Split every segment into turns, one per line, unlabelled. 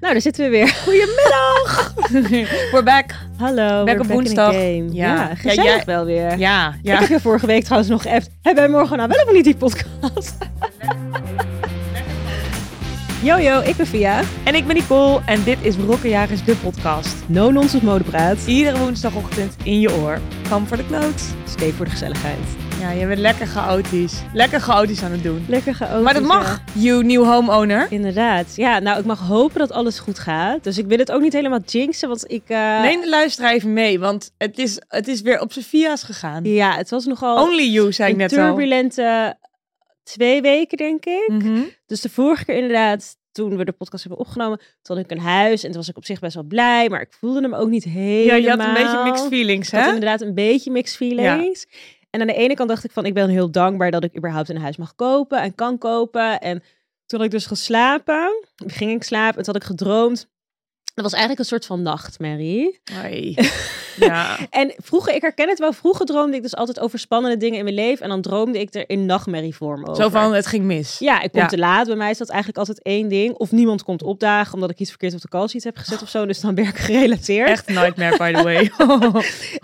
Nou, daar zitten we weer.
Goedemiddag! We're back.
Hallo.
Back
we're
op
in the
woensdag.
game.
Ja.
Ja,
Ja,
gezellig
jij-
wel weer.
Ja,
Ik
ja.
heb je vorige week trouwens nog echt. Hebben wij morgen nou wel of niet die podcast? yo, yo, ik ben Via.
En ik ben Nicole en dit is Brokkenjagers, de podcast.
No Nonsense Modepraat.
Iedere woensdagochtend in je oor. Kam voor de kloot.
Steek voor de gezelligheid.
Ja, je bent lekker chaotisch. Lekker chaotisch aan het doen.
Lekker geopend.
Maar dat mag, you new homeowner.
Inderdaad. Ja, nou, ik mag hopen dat alles goed gaat. Dus ik wil het ook niet helemaal jinxen, want ik... eh,
Neem de luisteraar even mee, want het is, het is weer op Sophia's gegaan.
Ja, het was nogal
Only you, zei Oh, ik
een
net al.
turbulente twee weken, denk ik.
Mhm.
Dus de vorige keer inderdaad, toen we de podcast hebben opgenomen, toen had ik een huis en toen was ik op zich best wel blij, maar ik voelde hem ook niet
Ja,
helemaal.
je had een beetje mixed feelings,
Ik had
hè?
inderdaad een beetje mixed feelings. En aan de ene kant dacht ik van, ik ben heel dankbaar dat ik überhaupt een huis mag kopen en kan kopen. En toen had ik dus geslapen, ging ik slapen en toen had ik gedroomd. Dat was eigenlijk een soort van nachtmerrie.
Hoi. Ja.
En vroeger, ik herken het wel, vroeger droomde ik dus altijd over spannende dingen in mijn leven. En dan droomde ik er in nachtmerrievorm over.
Zo van, het ging mis.
Ja, ik kom
Ja.
te laat. Bij mij is dat eigenlijk altijd één ding. Of niemand komt opdagen omdat ik iets verkeerd op de callsheet heb gezet of zo. Dus dan ben ik gerelateerd.
Echt nightmare, by the way.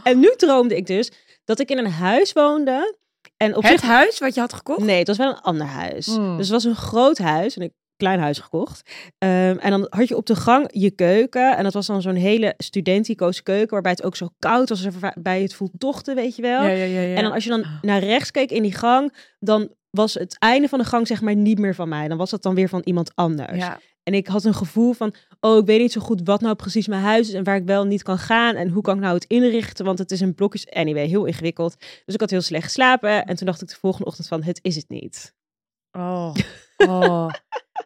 En nu droomde ik dus dat ik in een huis woonde. En op
het
zich...
huis wat je had gekocht?
Nee, het was wel een ander huis.
Hmm.
Dus het was een groot huis en een klein huis gekocht. Ehm, en dan had je op de gang je keuken. En dat was dan zo'n hele studentico's keuken. Waarbij het ook zo koud was. als er bij het voeltochten, weet je wel.
Ja, ja, ja, ja.
En dan als je dan naar rechts keek in die gang, dan was het einde van de gang zeg maar niet meer van mij. Dan was dat dan weer van iemand anders.
Ja.
En ik had een gevoel van, oh, ik weet niet zo goed wat nou precies mijn huis is en waar ik wel en niet kan gaan en hoe kan ik nou het inrichten, want het is in blokjes. Anyway, heel ingewikkeld. Dus ik had heel slecht geslapen en toen dacht ik de volgende ochtend van, het is het niet.
Oh. oh.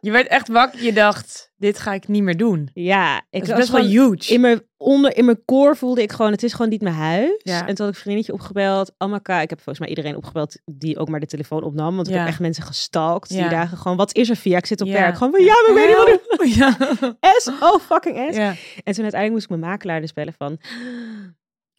Je werd echt wakker. Je dacht, dit ga ik niet meer doen.
Ja, ik
Ik dat is
was
best wel
gewoon-
huge.
in mijn onder in mijn koor voelde ik gewoon het is gewoon niet mijn huis. En toen
Ja.
had ik een vriendinnetje opgebeld, Amaka. Ik heb volgens mij iedereen opgebeld die ook maar de telefoon opnam, want ik
Ja.
heb echt mensen gestalkt
Ja.
die dagen gewoon wat is er via ik zit op
Ja.
werk. Gewoon van ja, maar ik weet niet wat ik
Ja.
S oh fucking S.
ja.
En toen uiteindelijk moest ik mijn makelaar dus bellen van
Ik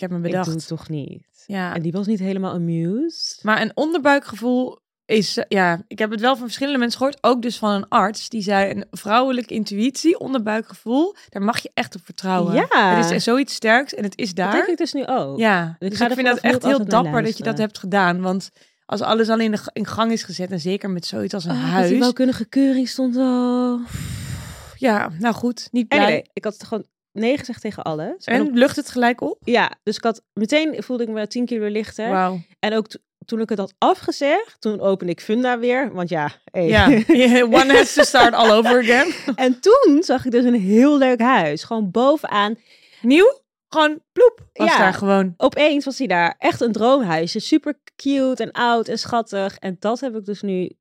heb me
ik doe het
bedacht.
toch niet.
Ja.
En die was niet helemaal amused.
Maar een onderbuikgevoel is, eh, ja, ik heb het wel van verschillende mensen gehoord, ook dus van een arts, die zei een vrouwelijke intuïtie, onderbuikgevoel, daar mag je echt op vertrouwen.
ja.
Het is eh, zoiets sterks en het is
dat
daar.
denk ik dus nu ook.
Ja,
Ik
dus
ga
ik
er
vind
vanaf
dat echt
nu altijd
heel
naar
dapper dat je dat
luisteren.
hebt gedaan. Want als alles al in, de, g- in gang is gezet, en zeker met zoiets als een
Oh, dat
huis.
die welkeurige keuring stond al.
Ja, nou goed, niet blij.
Anyway, ik had gewoon nee gezegd tegen alles. En
En lucht het gelijk op?
Ja, dus ik had meteen voelde ik me 10 kilo lichter.
Wauw.
En ook to- toen ik het had afgezegd, toen opende ik Funda weer. Want ja, hey.
Ja, one has to start all over again.
En toen zag ik dus een heel leuk huis. Gewoon bovenaan.
Nieuw? Gewoon ploep. Was
Ja.
daar gewoon.
Opeens was hij daar. Echt een droomhuisje. Super cute en oud en schattig. En dat heb ik dus nu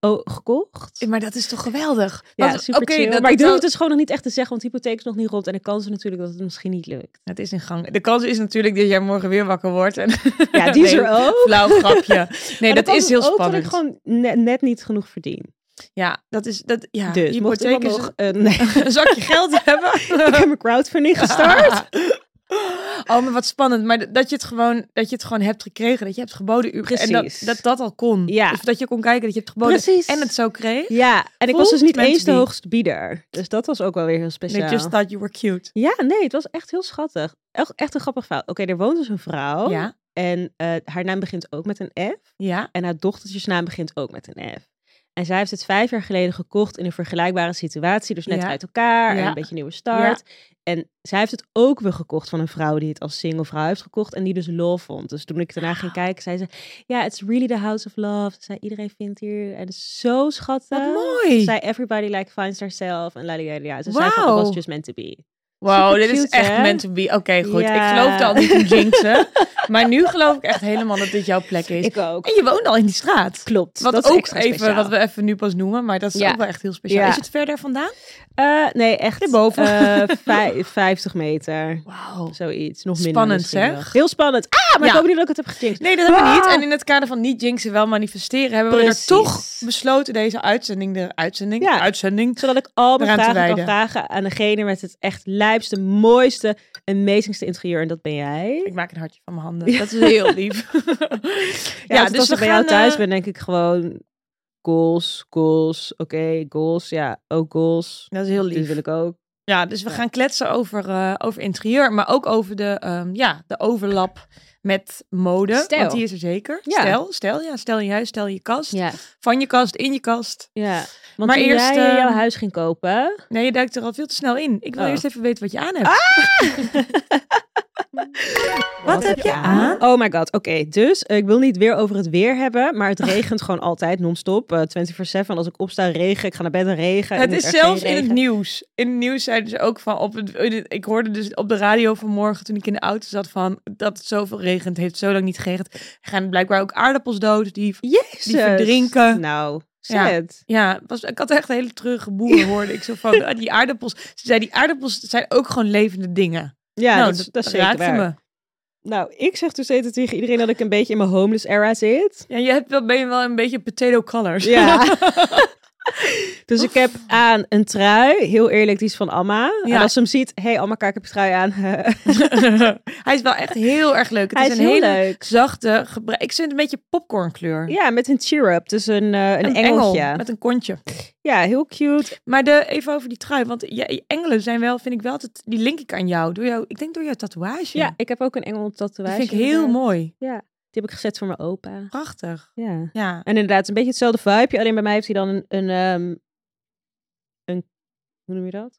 oh, gekocht.
Maar dat is toch geweldig?
Ja,
Want,
super
oké,
chill.
dat-
maar ik
dat-
durf het dus gewoon nog niet echt te zeggen, want de hypotheek is nog niet rond. En de kans is natuurlijk dat het misschien niet lukt.
Het is in gang. De kans is natuurlijk dat jij morgen weer wakker wordt. En...
Ja, die is
Nee,
er ook.
Flauw grapje. Nee,
Maar de
dat
kans
is heel
ook
spannend.
dat ik gewoon ne- net niet genoeg verdien.
Ja, dat is... Dat, ja,
dus mocht
hypotheek
iemand
is
nog een, nee,
een zakje geld hebben.
ik heb mijn crowdfunding gestart.
Oh, maar wat spannend. Maar dat je het gewoon, dat je het gewoon hebt gekregen. Dat je hebt geboden. u- En dat,
Precies.
dat dat al kon.
Ja.
Of dat je kon kijken dat je hebt geboden.
Precies.
En het zo kreeg.
Ja, en ik
Voelt
was dus niet
meant
eens
to
de
be.
hoogste bieder. Dus dat was ook wel weer heel
They
speciaal.
just thought you were cute.
Ja, nee, het was echt heel schattig. Echt, echt een grappig verhaal. Oké, er woont dus een vrouw.
Ja.
En eh, haar naam begint ook met een F.
Ja.
En haar dochtertjesnaam begint ook met een F. En zij heeft het vijf jaar geleden gekocht in een vergelijkbare situatie. Dus net
Ja.
uit elkaar en
Ja.
een beetje nieuwe start. En zij heeft het ook weer gekocht van een vrouw die het als single vrouw heeft gekocht. En die dus love vond. Dus toen ik daarna ging kijken, zei ze... Ja, it's really the house of love. Ze zei, iedereen vindt hier. En het is zo schattig.
Wat mooi.
Eh, Zij everybody like finds herself. En la la la la. Ze zei van,
Wauw.
it was just meant to be.
Wow, dit is
supercute,
echt
hè?
meant to be. Oké, goed.
Ja.
Ik geloofde al niet in jinxen. maar nu geloof ik echt helemaal dat dit jouw plek is.
Ik ook.
En je woont al in die straat.
Klopt.
Wat
dat is
ook
extra
even,
speciaal.
wat we even nu pas noemen, maar dat is
Ja.
ook wel echt heel speciaal.
Ja.
Is het verder vandaan?
Eh, nee, echt.
Erboven.
eh, vij- 50 meter.
Wauw.
Zoiets. Nog minder.
Spannend,
misschien
zeg.
nog. Heel spannend. Ah, maar
Ja.
ik hoop niet dat ik het heb gejinxed.
Nee, dat hebben we niet.
Ah.
En in het kader van niet jinxen, wel manifesteren, hebben
Precies.
we er toch besloten deze uitzending, de uitzending,
Ja.
de uitzending.
Zodat ik al mijn
Eraan te
vragen kan
wijden.
vragen aan degene met het echt lijpste, mooiste, amazingste interieur. En dat ben jij.
Ik maak een hartje van mijn handen. Dat is heel lief. ja, dus
want als ik bij jou
gaan,
thuis
eh,
ben, denk ik gewoon... goals, goals, oké, goals, ja, ook goals.
Dat is heel
Die
lief.
wil ik ook.
Ja, dus we
Ja.
gaan kletsen over, eh, over interieur, maar ook over de, ehm, ja, de overlap met mode.
Stijl.
Want die is er zeker.
Ja.
Stijl, stijl, ja. Stel in je huis, stel in je kast.
Ja,
Van je kast, in je kast.
ja. Want
Maar
toen
eerst,
jij eh, jouw
ehm,
huis ging kopen,
Nee, je duikt er al veel te snel in. Ik wil
Oh. Ah!
eerst even weten wat je aan hebt.
Wat heb je aan? Oh my god, oké. Dus eh, ik wil niet weer over het weer hebben, maar het regent gewoon altijd non-stop. eh 24-7. Als ik opsta, regen. Ik ga naar bed, regen.
Het
ik moet
is
er geen
zelfs in het
regen.
nieuws. In het nieuws zeiden ze ook van op het. Ik hoorde dus op de radio vanmorgen toen ik in de auto zat van dat het zoveel regent, heeft zo lang niet geregend. Er gaan blijkbaar ook aardappels dood. Die,
Jezus.
die verdrinken.
Nou,
Ja.
shit.
ja, het was, ik had echt een hele treurige boer hoorde ik zo van ah, die aardappels. Ze zei die aardappels zijn ook gewoon levende dingen.
Ja,
nou,
dat, is- dat is zeker
raakte
waar.
me.
Nou, ik zeg dus steeds tegen iedereen dat ik een beetje in mijn homeless era zit.
Ja, je hebt wel ben je wel een beetje potato colors.
Ja. dus ik heb aan een trui, heel eerlijk, die is van Amma.
Ja.
En als ze hem ziet, hé hey, Amma, kijk, ik heb je trui aan.
Hij is wel echt heel erg leuk. Het
Hij
is,
is
een
heel
hele
leuk.
zachte. gebra- Ik vind het een beetje popcornkleur.
ja, met een cheer-up, dus een, eh, een, engeltje.
Engel met een kontje.
Ja, heel cute.
Maar de, even over die trui, want je, engelen zijn wel, vind ik wel altijd, die link ik aan jou. Door jou ik denk door jouw tatoeage.
Ja, ik heb ook een engel
dat
tatoeage.
vind ik heel
inderdaad.
mooi.
Die heb ik gezet voor mijn opa.
Prachtig.
Ja.
Ja.
En inderdaad, een beetje hetzelfde vibeje. Alleen bij mij heeft hij dan een... een, ehm, een hoe noem je dat?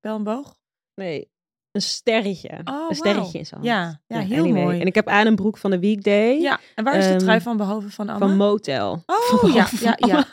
Wel een boog.
Nee, een sterretje.
Oh, wauw.
een sterretje is al.
Ja, ja, heel mooi.
En ik heb aan een broek van de weekday
Ja. En waar is de
Ehm,
trui van behalve van Anna?
van Motel.
oh, ja, ja, ja.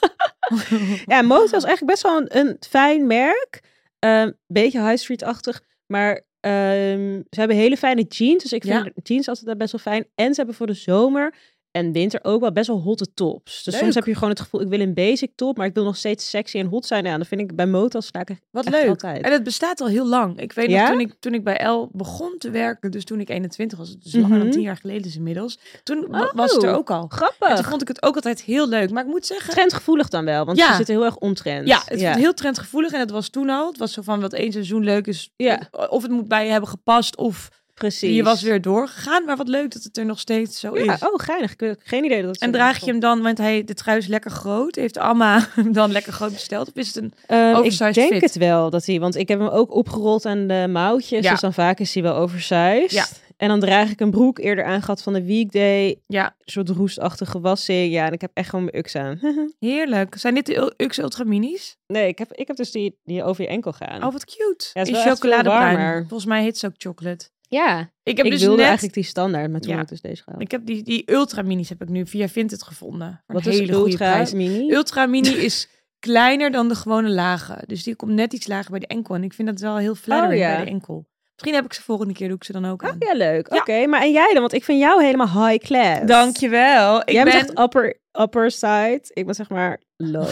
Ja, Motel is eigenlijk best wel een, een fijn merk. Ehm beetje high street-achtig. Maar ehm, ze hebben hele fijne jeans. Dus ik vind
Ja.
jeans altijd wel best wel fijn. En ze hebben voor de zomer en winter ook wel best wel hotte tops. Dus
Leuk.
soms heb je gewoon het gevoel, ik wil een basic top, maar ik wil nog steeds sexy en hot zijn. Nou Ja, dan vind ik bij Motel sla ik echt
Wat
echt
leuk.
altijd.
En het bestaat al heel lang. Ik weet
Ja?
nog, toen ik, toen ik bij L begon te werken, dus toen ik 21 was, dus langer
Mhm.
dan 10 jaar geleden is inmiddels, toen wa-
Oh.
was het er ook al. En toen
Grappig.
vond ik het ook altijd heel leuk. Maar ik moet zeggen,
Trendgevoelig dan wel, want
Ja.
ze zitten heel erg omtrend.
Ja, het was heel trendgevoelig en dat was toen al. Het was zo van wat één seizoen leuk is. eh,
Ja.
Of het moet bij je hebben gepast of
precies.
je was weer doorgegaan. Maar wat leuk dat het er nog steeds zo
Ja,
is.
oh, geinig. Ik heb geen idee dat het
En
zo
draag je
was.
hem dan, want hij, de trui is lekker groot. Heeft Amma hem dan lekker groot besteld? Of is het een...
Ehm, ik
Oversized
denk
fit.
het wel dat hij, want ik heb hem ook opgerold aan de mouwtjes,
Ja.
dus dan vaak is hij wel oversized.
Ja.
En dan draag ik een broek eerder aangehad van de weekday, een
Ja,
soort roestachtige wassing. Ja, en ik heb echt gewoon mijn uks aan.
heerlijk. Zijn dit de Ul- Ux Ultra Minis?
nee, ik heb, ik heb dus die, die over je enkel gaan.
Oh, wat cute.
Ja, het is wel
In
echt veel
chocoladebruin.
warmer.
Volgens mij heet ze ook chocolate.
ja,
Ik
ik,
heb dus
wilde
net...
eigenlijk die standaard, maar toen
Ja.
heb ik dus deze gehaald.
Ik heb die, die Ultra Minis heb ik nu via Vinted gevonden. Voor
Wat
een
is
hele goede
ultra
prijs.
mini?
Ultra mini is kleiner dan de gewone lagen. Dus die komt net iets lager bij de enkel. En ik vind dat wel heel flattering
Oh, ja.
bij de enkel. Misschien heb ik ze volgende keer, doe ik ze dan ook aan.
oh, ja, leuk.
Ja.
Oké, maar en jij dan? Want ik vind jou helemaal high class.
Dankjewel. Ik
Jij
ben...
bent echt upper, upper side. Ik ben zeg maar low.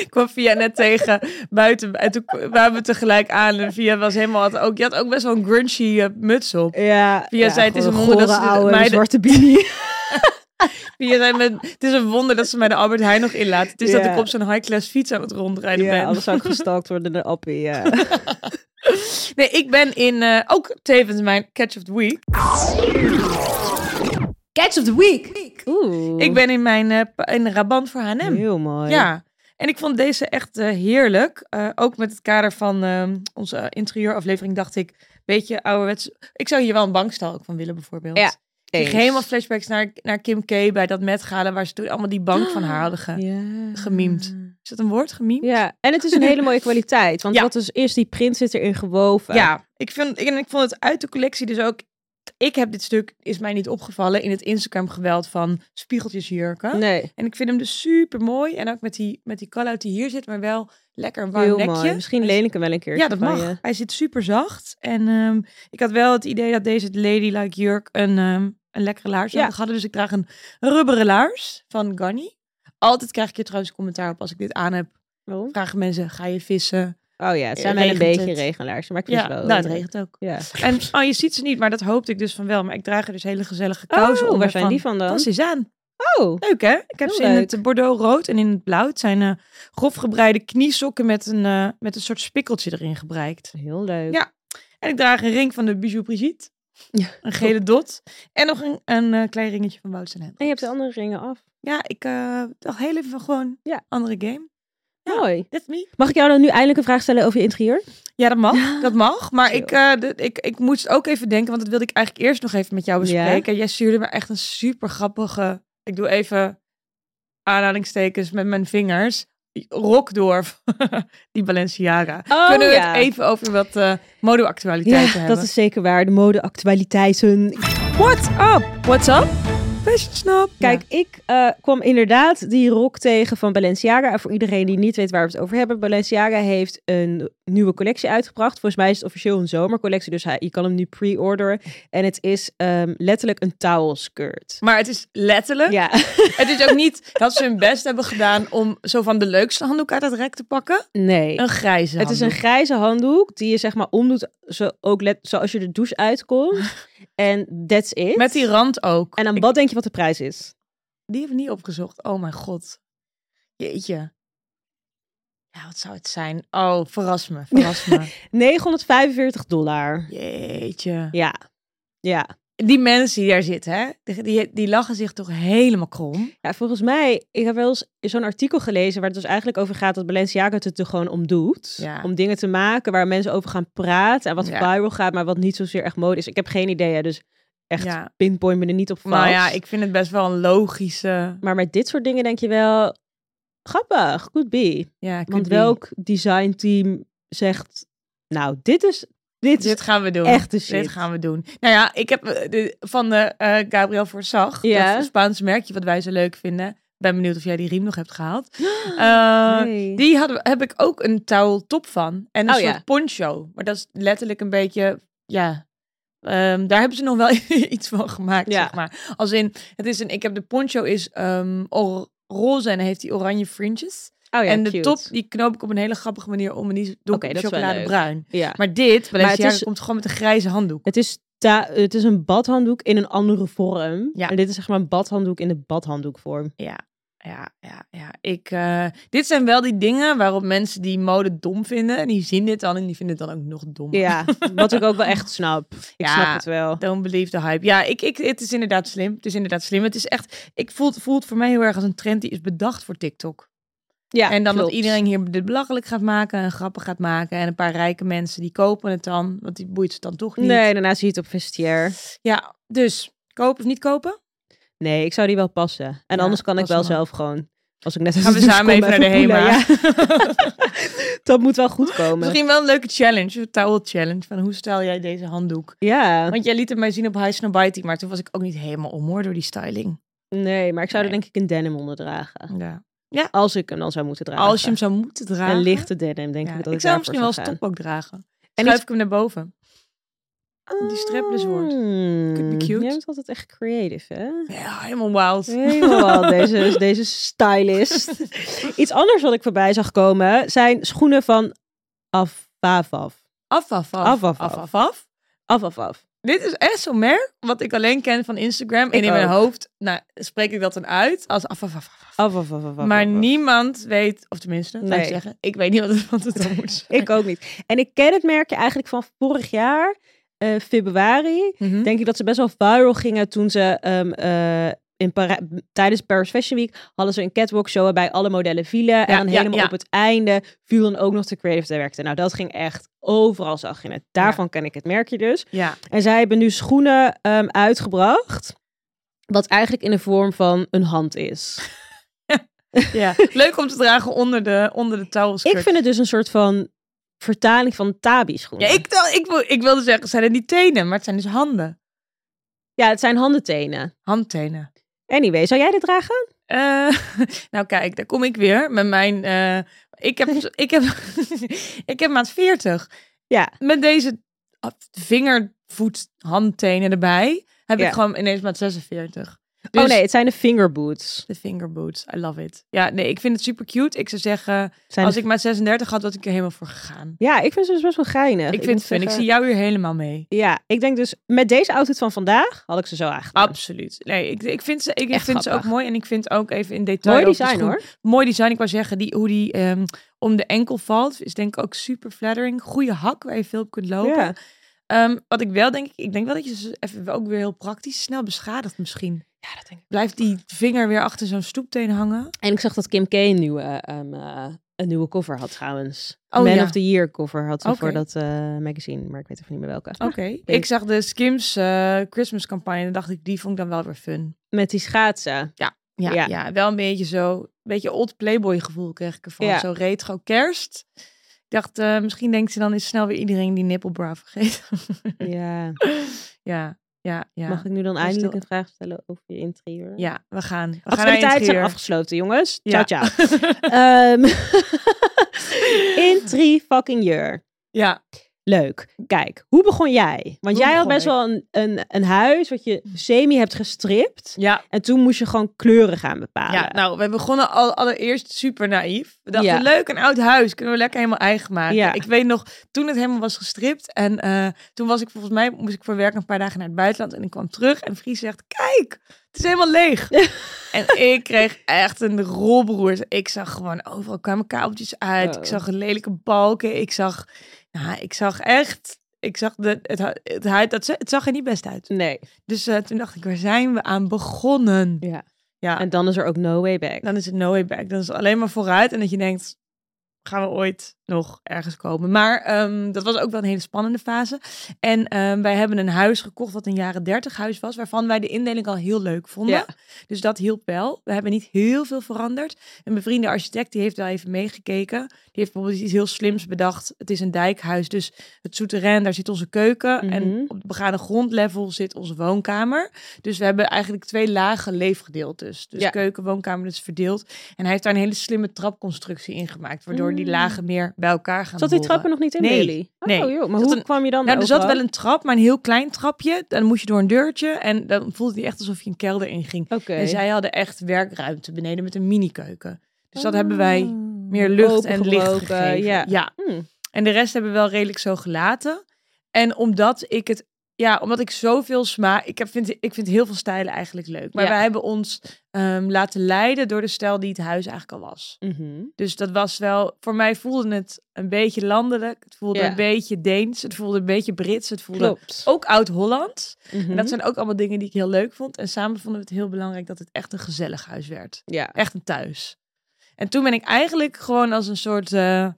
ik kwam Via net tegen buiten. En toen waren we tegelijk aan. En Via was helemaal... Had ook, je had ook best wel een grungy eh, muts op.
ja.
Via
ja,
zei, het is
gewoon
een wonder dat
gore
ze de
oude
meiden-
zwarte bini.
Via zei met... Het is een wonder dat ze mij de Albert Heijn nog inlaat. Het is dat
Ja.
ik op zo'n high-class fiets aan het rondrijden
Ja,
ben.
anders zou ik gestalkt worden door de appie. Ja.
Nee, ik ben in... eh, ook tevens mijn Catch of the Week.
Catch of the week.
Oeh.
Ik ben in mijn eh, pa- in de Rabant voor H&M.
heel mooi.
Ja, en ik vond deze echt eh, heerlijk. Eh, ook met het kader van ehm, onze eh, interieuraflevering dacht ik, beetje ouderwets. Ik zou hier wel een bankstel ook van willen bijvoorbeeld.
Ja,
Ik
Eens.
kreeg helemaal flashbacks naar, naar Kim K bij dat met gala waar ze toen allemaal die bank van haar hadden. ge-
Ah, ja.
gemiemd. Is dat een woord, gemiem?
Ja, en het is een hele mooie kwaliteit. Want
Ja.
wat dus is, die print zit erin gewoven.
Ja, ik, vind, ik, en ik vond het uit de collectie dus ook... Ik heb dit stuk, is mij niet opgevallen, in het Instagram-geweld van spiegeltjesjurken.
Nee,
En ik vind hem dus super mooi. En ook met die, met die call-out die hier zit, maar wel lekker een warm
heel
nekje.
mooi. Misschien leen ik hem wel een keer.
Ja, dat mag. Hij zit super zacht. En ehm, ik had wel het idee dat deze ladylike jurk een, ehm, een lekkere laars
Ja.
had hadden. Dus ik draag een rubberen laars van Ganni. Altijd krijg ik hier trouwens commentaar op als ik dit aan heb.
Oh
Vragen mensen, ga je vissen?
ja, het zijn
Eh,
wel een
regent
beetje
het?
regelaars. Maar ik vind
Ja,
het wel.
nou het regent ook.
Ja.
En oh, je ziet ze niet, maar dat hoopte ik dus van wel. Maar ik draag er dus hele gezellige kousen
Oh,
onder
waar zijn die van dan?
Pas eens aan.
Oh,
Leuk hè? Ik heb
Heel
ze in
leuk.
het bordeaux rood en in het blauw. Het zijn eh grof gebreide kniesokken met een, eh, met een soort spikkeltje erin gebruikt.
heel leuk.
Ja. En ik draag een ring van de Bijou Brigitte.
Ja,
een gele dot. En nog een, een eh, klein ringetje van Wout en Hendricks.
En je hebt de andere ringen af.
Ja, ik eh, dacht heel even van gewoon
Ja.
andere game. Ja.
Mooi.
That's me.
Mag ik jou dan nu eindelijk een vraag stellen over je interieur?
Ja, dat mag. Dat mag. Maar
Chill.
ik, eh, de- ik, ik moest ook even denken, want dat wilde ik eigenlijk eerst nog even met jou
Ja.
bespreken. Jij stuurde me echt een super grappige, ik doe even aanhalingstekens met mijn vingers, rok door. Die Balenciaga.
Oh,
Kunnen we
ja.
het even over wat eh modeactualiteiten hebben?
dat is zeker waar. De modeactualiteiten.
What's up?
What's up?
Fashion snap.
Kijk, ik eh, kwam inderdaad die rok tegen van Balenciaga. En voor iedereen die niet weet waar we het over hebben. Balenciaga heeft een nieuwe collectie uitgebracht. Volgens mij is het officieel een zomercollectie. Dus hij, je kan hem nu pre-orderen. En het is ehm, letterlijk een touwelskirt.
Maar het is letterlijk.
Ja,
Het is ook niet dat ze hun best hebben gedaan om zo van de leukste handdoek uit het rek te pakken.
nee.
Een grijze
Het is een
handdoek.
grijze handdoek die je zeg maar omdoet zo ook let, zoals je de douche uitkomt. En that's it.
Met die rand ook.
en dan
Ik-
wat denk je wat de prijs is?
Die hebben we niet opgezocht. Oh mijn god. Jeetje. Ja, wat zou het zijn? Oh, verras me, verras me.
945 dollar.
Jeetje.
Ja. Ja.
Die mensen die daar zitten, hè? Die, die, die lachen zich toch helemaal krom?
Ja, volgens mij, ik heb wel eens zo'n artikel gelezen waar het dus eigenlijk over gaat dat Balenciaga het er gewoon om doet.
Ja.
Om dingen te maken waar mensen over gaan praten en wat
Ja.
viral gaat, maar wat niet zozeer echt mode is. Ik heb geen idee, hè, dus echt
Ja.
pinpoint me er niet op vast.
Maar ja, ik vind het best wel een logische...
Maar met dit soort dingen denk je wel, grappig, could be.
Ja, could
Want
be.
welk designteam zegt, nou, dit is, dit
Dit
is
gaan we doen.
echt de shit.
Dit gaan we doen. Nou ja, ik heb eh, de, van de eh Gabriel Forsag,
Ja.
dat Spaanse merkje wat wij zo leuk vinden. Ben benieuwd of jij die riem nog hebt gehaald. Eh,
Ah, Nee.
Die hadden, we- heb ik ook een touweltop van. En een
Oh,
soort
ja.
poncho. Maar dat is letterlijk een beetje, ja... ehm, daar hebben ze nog wel iets van gemaakt,
Ja.
zeg maar. Als in, het is een, ik heb de poncho is ehm, or- roze en heeft die oranje fringes.
Oh ja,
en de
cute.
top, die knoop ik op een hele grappige manier om en die is
Oké,
donker
dat is wel
chocoladebruin.
Ja.
Maar dit, Balenciaga
het is-
komt gewoon met een grijze handdoek.
Het is, ta- het is een badhanddoek in een andere vorm.
Ja.
En dit is zeg maar een badhanddoek in de badhanddoekvorm.
Ja, ja, ja. Ik, eh, dit zijn wel die dingen waarop mensen die mode dom vinden. En die zien dit dan en die vinden het dan ook nog dom.
Ja, wat ik ook wel echt snap. Ik
Ja.
snap het wel.
Don't believe the hype. Ja, ik, ik, het is inderdaad slim. Het is inderdaad slim. Het is echt, ik voel, het voelt voor mij heel erg als een trend die is bedacht voor TikTok.
Ja,
en dan
klopt.
dat iedereen hier dit belachelijk gaat maken en grappen gaat maken. En een paar rijke mensen die kopen het dan, want die boeit ze dan toch niet.
Nee, daarna zie je het op vestiair.
Ja, dus kopen of niet kopen?
Nee, ik zou die wel passen. En
Ja,
anders kan ik
pas
wel
hem
zelf gewoon... Als ik net uit
Gaan
de
we
douche
samen
Dus kom,
even naar de
poelen.
HEMA.
Ja, dat moet wel goed komen.
Misschien wel een leuke challenge, een towel challenge. Van hoe stel jij deze handdoek?
Ja,
Want jij liet het mij zien op High Snobity, maar toen was ik ook niet helemaal om hoor door die styling.
nee, maar ik zou er
Nee.
denk ik een denim onder dragen.
Ja.
Als ik hem dan zou moeten dragen.
Als je hem zou moeten dragen.
Een lichte denim, denk
Ja,
ik
Ik,
dat ik
zou hem
daarvoor
misschien wel als
zou gaan.
topbak dragen. En
En
schuif
iets-
ik hem naar boven. die strapless wordt. Could be
Mm,
cute.
Jij bent altijd echt creative, hè?
Ja, helemaal wild.
Helemaal wel, deze, deze stylist. Iets anders wat ik voorbij zag komen zijn schoenen van Afafaf.
Af, af, af.
Af, af, af.
af, af.
Afafaf.
Dit is echt zo'n merk wat ik alleen ken van Instagram. En
Ik
in mijn
ook.
hoofd nou, spreek ik dat dan uit als af, af, af, af, af.
Afafaf.
Maar niemand weet, of tenminste, laat
Nee.
ik zeggen, ik weet niet wat het, wat het dan moet zijn.
Ik ook niet. En ik ken het merkje eigenlijk van vorig jaar, eh, februari.
Mhm.
Denk ik dat ze best wel viral gingen toen ze ehm, eh, in Para- tijdens Paris Fashion Week hadden ze een catwalk show waarbij alle modellen vielen. en
Ja,
dan
ja,
helemaal
ja.
op het einde viel dan ook nog de creative director. Nou, dat ging echt overal zag je het. Daarvan ken ik het merkje dus.
Ja.
En zij hebben nu schoenen ehm, uitgebracht. Wat eigenlijk in de vorm van een hand is.
ja. Leuk om te dragen onder de, onder de touwelskirt.
Ik vind het dus een soort van vertaling van Tabi-schoenen.
Ja, ik, dacht- ik, wil- ik wilde zeggen, het zijn het niet tenen, maar het zijn dus handen.
Ja, het zijn handentenen.
Handtenen.
Anyway, zou jij dit dragen?
Eh, nou kijk, daar kom ik weer met mijn... eh, ik, heb, ik, heb, ik heb maat 40.
Ja.
Met deze vinger, voet, handtenen erbij heb
Ja.
ik gewoon ineens maat 46. Dus
Oh nee, het zijn de fingerboots.
de fingerboots, I love it. Ja, nee, ik vind het super cute. Ik zou zeggen,
Het Zijn
als
de-
ik maat 36 had, was ik er helemaal voor gegaan.
Ja, ik vind ze dus best wel geinig.
Ik vind
moet
het fun. Ik
zeggen-
zie jou hier helemaal mee.
Ja, ik denk dus met deze outfit van vandaag had ik ze zo aangedaan.
Absoluut. Nee, ik, ik vind, ze, ik
Echt
vind ze ook
grappig.
mooi. En ik vind ook even in detail.
Mooi
over de
design
schoen-
hoor.
mooi design. Ik wou zeggen, die, hoe die ehm, om de enkel valt, is denk ik ook super flattering. Goede hak waar je veel op kunt lopen.
Ja.
Ehm, wat ik wel denk, ik denk wel dat je ze even ook weer heel praktisch snel beschadigt misschien.
Ja, dat denk ik.
Blijft die vinger weer achter zo'n stoepteen hangen?
En ik zag dat Kim K een nieuwe, ehm, eh, een nieuwe cover had trouwens.
Oh,
Man
ja.
of the Year cover had ze
Oké.
voor dat eh, magazine, maar ik weet even niet meer welke.
Oké.
weet-
Ik zag de Skims eh, Christmas campagne en dacht ik, die vond ik dan wel weer fun.
Met die schaatsen.
Ja,
Ja.
ja. wel een beetje zo, een beetje old playboy gevoel kreeg ik ervan.
Ja.
Zo retro kerst. Ik dacht, eh, misschien denkt ze dan is snel weer iedereen die nippelbra vergeten.
Ja.
ja, ja, ja.
Mag ik nu dan
is
eindelijk
heel-
een vraag stellen over je interieur?
Ja, we gaan. We gaan naar
Actualiteiten zijn
interieur.
afgesloten, jongens.
Ja.
Ciao, ciao. Ehm, in drie fucking year.
ja,
Leuk. Kijk, hoe begon jij? Want
Hoe
jij had
begon
best
ik?
wel een, een, een huis wat je semi hebt gestript.
ja,
En toen moest je gewoon kleuren gaan bepalen.
ja. Nou, we begonnen al, allereerst super naïef. We dachten,
Ja.
leuk, een oud huis. Kunnen we lekker helemaal eigen maken.
Ja.
Ik weet nog, toen het helemaal was gestript. En eh, toen was ik volgens mij, moest ik voor werk een paar dagen naar het buitenland. En ik kwam terug en Vries zegt, kijk, het is helemaal leeg. en ik kreeg echt een rolbroers. Ik zag gewoon, overal kwamen kabeltjes uit.
Oh.
Ik zag lelijke balken. Ik zag, nou, ik zag echt... Ik zag de, het, hu- het, huid- dat ze- het zag er niet best uit.
Nee.
Dus eh, toen dacht ik, waar zijn we aan begonnen?
Ja.
Ja.
En dan is er ook no way back.
dan is het no way back. Dan is het alleen maar vooruit. En dat je denkt, gaan we ooit nog ergens komen? Maar ehm, dat was ook wel een hele spannende fase. En ehm, wij hebben een huis gekocht wat een jaren 30 huis was. Waarvan wij de indeling al heel leuk vonden.
Ja.
Dus dat hielp wel. We hebben niet heel veel veranderd. Een bevriende architect die heeft wel even meegekeken. Die heeft bijvoorbeeld iets heel slims bedacht. Het is een dijkhuis, dus het souterrain, daar zit onze keuken.
Mhm.
En op het begane grondlevel zit onze woonkamer. Dus we hebben eigenlijk twee lagen leefgedeeltes. Dus
Ja.
keuken, woonkamer, dat is verdeeld. En hij heeft daar een hele slimme trapconstructie in gemaakt. Waardoor die
Mm.
lagen meer bij elkaar gaan
Zat die
horen.
trappen nog niet in
Nee,
Bailey?
nee.
Oh, joh. Maar
Zat
hoe
een-
kwam je dan
Nou, er zat
overal?
wel een trap, maar een heel klein trapje. Dan moest je door een deurtje en dan voelde hij echt alsof je een kelder inging.
Oké.
En Dus zij hadden echt werkruimte beneden met een mini-keuken. Dus dat hebben wij meer lucht en licht
Opengebroken,
gegeven.
Ah. ja.
ja.
Hmm.
En de rest hebben we wel redelijk zo gelaten. En omdat ik het... Ja, omdat ik zoveel smaak... Ik, heb, vind, ik vind heel veel stijlen eigenlijk leuk. Maar
Ja.
wij hebben ons ehm, laten leiden door de stijl die het huis eigenlijk al was.
Mhm.
Dus dat was wel... Voor mij voelde het een beetje landelijk. Het voelde
Ja.
een beetje Deens. Het voelde een beetje Brits. Het voelde
Klopt.
ook Oud-Holland.
Mhm.
En dat zijn ook allemaal dingen die ik heel leuk vond. En samen vonden we het heel belangrijk dat het echt een gezellig huis werd.
Ja.
Echt een thuis. En toen ben ik eigenlijk gewoon als een soort eh,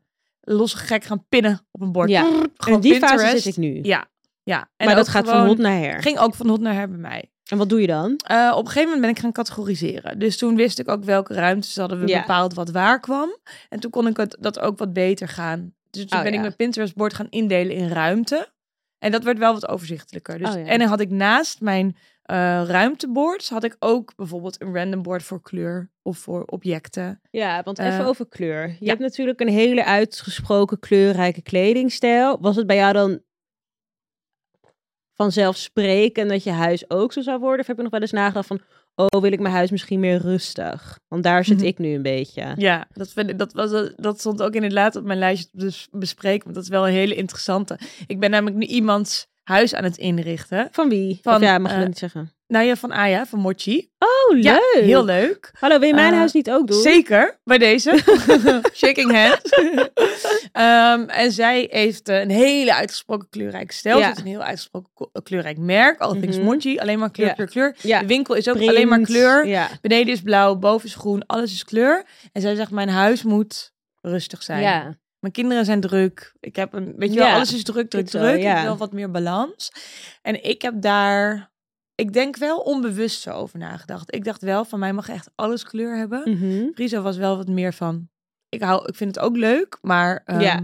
losse gek gaan pinnen op een bord.
Ja.
Brrr,
En
Gewoon
in die fase
Pinterest.
zit ik nu.
Ja, ja. En
maar dat
ook
gaat
gewoon-
van hond naar her.
Ging ook van hot naar her bij mij.
En wat doe je dan?
Eh, op een gegeven moment ben ik gaan categoriseren. Dus toen wist ik ook welke ruimtes hadden we
Ja.
bepaald wat waar kwam. En toen kon ik het, dat ook wat beter gaan. Dus toen
Oh,
ben
ja.
ik mijn Pinterest-bord gaan indelen in ruimte. En dat werd wel wat overzichtelijker. Dus,
Oh, ja.
En dan had ik naast mijn eh ruimteboards had ik ook bijvoorbeeld een random board voor kleur of voor objecten.
Ja, want
Eh,
even over kleur. Je
ja.
hebt natuurlijk een hele uitgesproken kleurrijke kledingstijl. Was het bij jou dan vanzelfsprekend dat je huis ook zo zou worden? Of heb je nog wel eens nagedacht van, oh, wil ik mijn huis misschien meer rustig? Want daar zit
Mhm.
ik nu een beetje.
Ja, dat, vind ik- dat, was, eh, dat stond ook inderdaad op mijn lijstje te bes- bespreken. Want dat is wel een hele interessante. Ik ben namelijk nu iemands huis aan het inrichten.
Van wie?
Van,
of ja, mag je
eh,
dat niet zeggen.
Nou ja, van Aya, van Mochi.
Oh, leuk!
Ja, heel leuk.
Hallo, wil je mijn
Eh,
huis niet ook doen?
Zeker, bij deze. Shaking hands. Ehm, en zij heeft eh, een hele uitgesproken kleurrijk stijl.
Ja.
Ze heeft een heel uitgesproken ko- eh, kleurrijk merk. All things
Mhm.
Monchi. Alleen maar kleur,
Ja.
kleur, kleur.
Ja.
De winkel is ook alleen maar
Print.
kleur.
Ja.
Beneden is blauw, boven is groen. Alles is kleur. En zij zegt, mijn huis moet rustig zijn.
Ja.
Mijn kinderen zijn druk. Ik heb een, weet je wel,
Ja.
alles is druk, druk,
Ik wel,
druk.
ja.
Ik wil wat meer balans. En ik heb daar, ik denk wel onbewust zo over nagedacht. Ik dacht wel, van mij mag echt alles kleur hebben.
Mhm.
Friso was wel wat meer van. Ik, hou, ik vind het ook leuk, maar ehm,
Ja.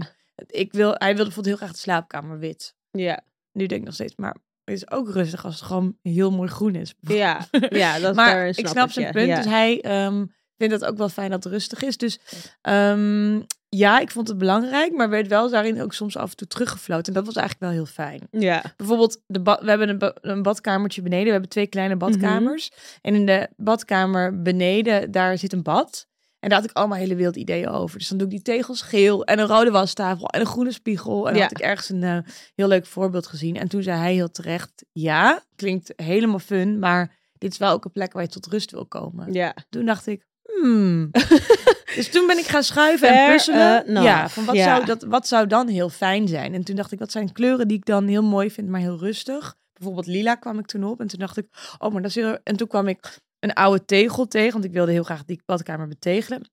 ik wil, hij wilde bijvoorbeeld heel graag de slaapkamer wit.
Ja.
Nu denk ik nog steeds, maar het is ook rustig als het gewoon heel mooi groen is.
Ja. ja, dat is
maar
daar een
ik snap zijn
snappertje.
punt,
Ja.
dus hij ehm, vindt het ook wel fijn dat het rustig is. Dus ehm, ja, ik vond het belangrijk, maar werd wel daarin ook soms af en toe teruggefloten. En dat was eigenlijk wel heel fijn
ja.
bijvoorbeeld, de ba- we hebben een, ba- een badkamertje beneden. We hebben twee kleine badkamers. En in de badkamer beneden, daar zit een bad. En daar had ik allemaal hele wilde ideeën over. Dus dan doe ik die tegels geel en een rode wastafel en een groene spiegel. En dan
Ja.
had ik ergens een eh, heel leuk voorbeeld gezien. En toen zei hij heel terecht, ja, klinkt helemaal fun, maar dit is wel ook een plek waar je tot rust wil komen.
Ja.
Toen dacht ik, hmm, hmm. dus toen ben ik gaan schuiven en
Fair
puzzelen.
enough.
Ja, van wat,
eh, nou, Ja.
Zou dat, wat zou dan heel fijn zijn? En toen dacht ik, wat zijn kleuren die ik dan heel mooi vind, maar heel rustig? Bijvoorbeeld lila kwam ik toen op. En toen dacht ik, oh, maar dat is heel... En toen kwam ik een oude tegel tegen, want ik wilde heel graag die badkamer betegelen.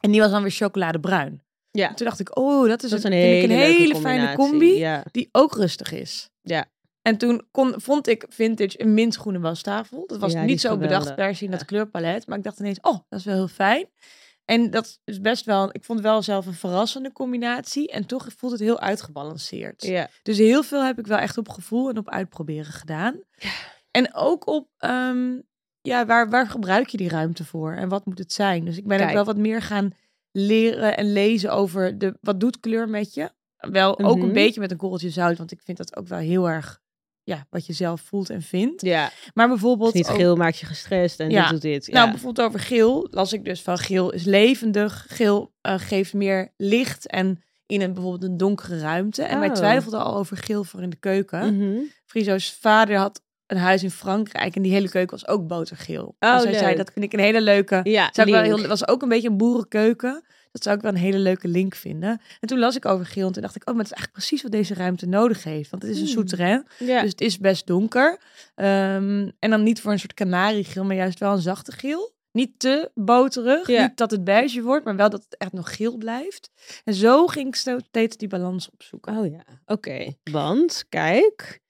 En die was dan weer chocoladebruin.
Ja.
En toen dacht ik, oh, dat is,
Dat is
een,
een
vind
hele,
ik een
leuke
hele fijne
combinatie,
combi
Ja.
die ook rustig is.
Ja.
En toen kon, vond ik vintage een mintgroene wastafel. Dat was
Ja, die
niet
is
zo bedacht
geweldig.
per se in dat
Ja.
kleurpalet. Maar ik dacht ineens, oh, dat is wel heel fijn. En dat is best wel, ik vond wel zelf een verrassende combinatie. En toch voelt het heel uitgebalanceerd.
Ja.
Dus heel veel heb ik wel echt op gevoel en op uitproberen gedaan. En ook op, ehm, ja, waar, waar gebruik je die ruimte voor? En wat moet het zijn? Dus ik ben ook
Kijk.
wel wat meer gaan leren en lezen over de, wat doet kleur met je? Wel ook een
Mhm.
beetje met een korreltje zout, want ik vind dat ook wel heel erg, ja, wat je zelf voelt en vindt.
ja.
Maar
Dus
bijvoorbeeld...
niet
ook-
geel maakt je gestrest en
Ja.
dit doet dit. Ja.
nou, bijvoorbeeld over geel las ik dus van geel is levendig. Geel eh, geeft meer licht en in een bijvoorbeeld een donkere ruimte. En wij
Oh.
twijfelden al over geel voor in de keuken.
Mhm.
Friso's vader had een huis in Frankrijk en die hele keuken was ook botergeel.
Oh,
dus hij zei,
leuk.
dat vind ik een hele leuke...
ja,
Zou ik wel
link.
heel, was ook een beetje een boerenkeuken. Dat zou ik wel een hele leuke link vinden. En toen las ik over geel en toen dacht ik... oh, maar het is eigenlijk precies wat deze ruimte nodig heeft. Want het is een
Hmm.
souterrain,
ja.
dus het is best donker. Ehm, en dan niet voor een soort kanariegeel, maar juist wel een zachte geel. Niet te boterig,
Ja.
niet dat het beige wordt... maar wel dat het echt nog geel blijft. En zo ging ik sto- steeds die balans opzoeken.
Oh ja, oké. Want, kijk,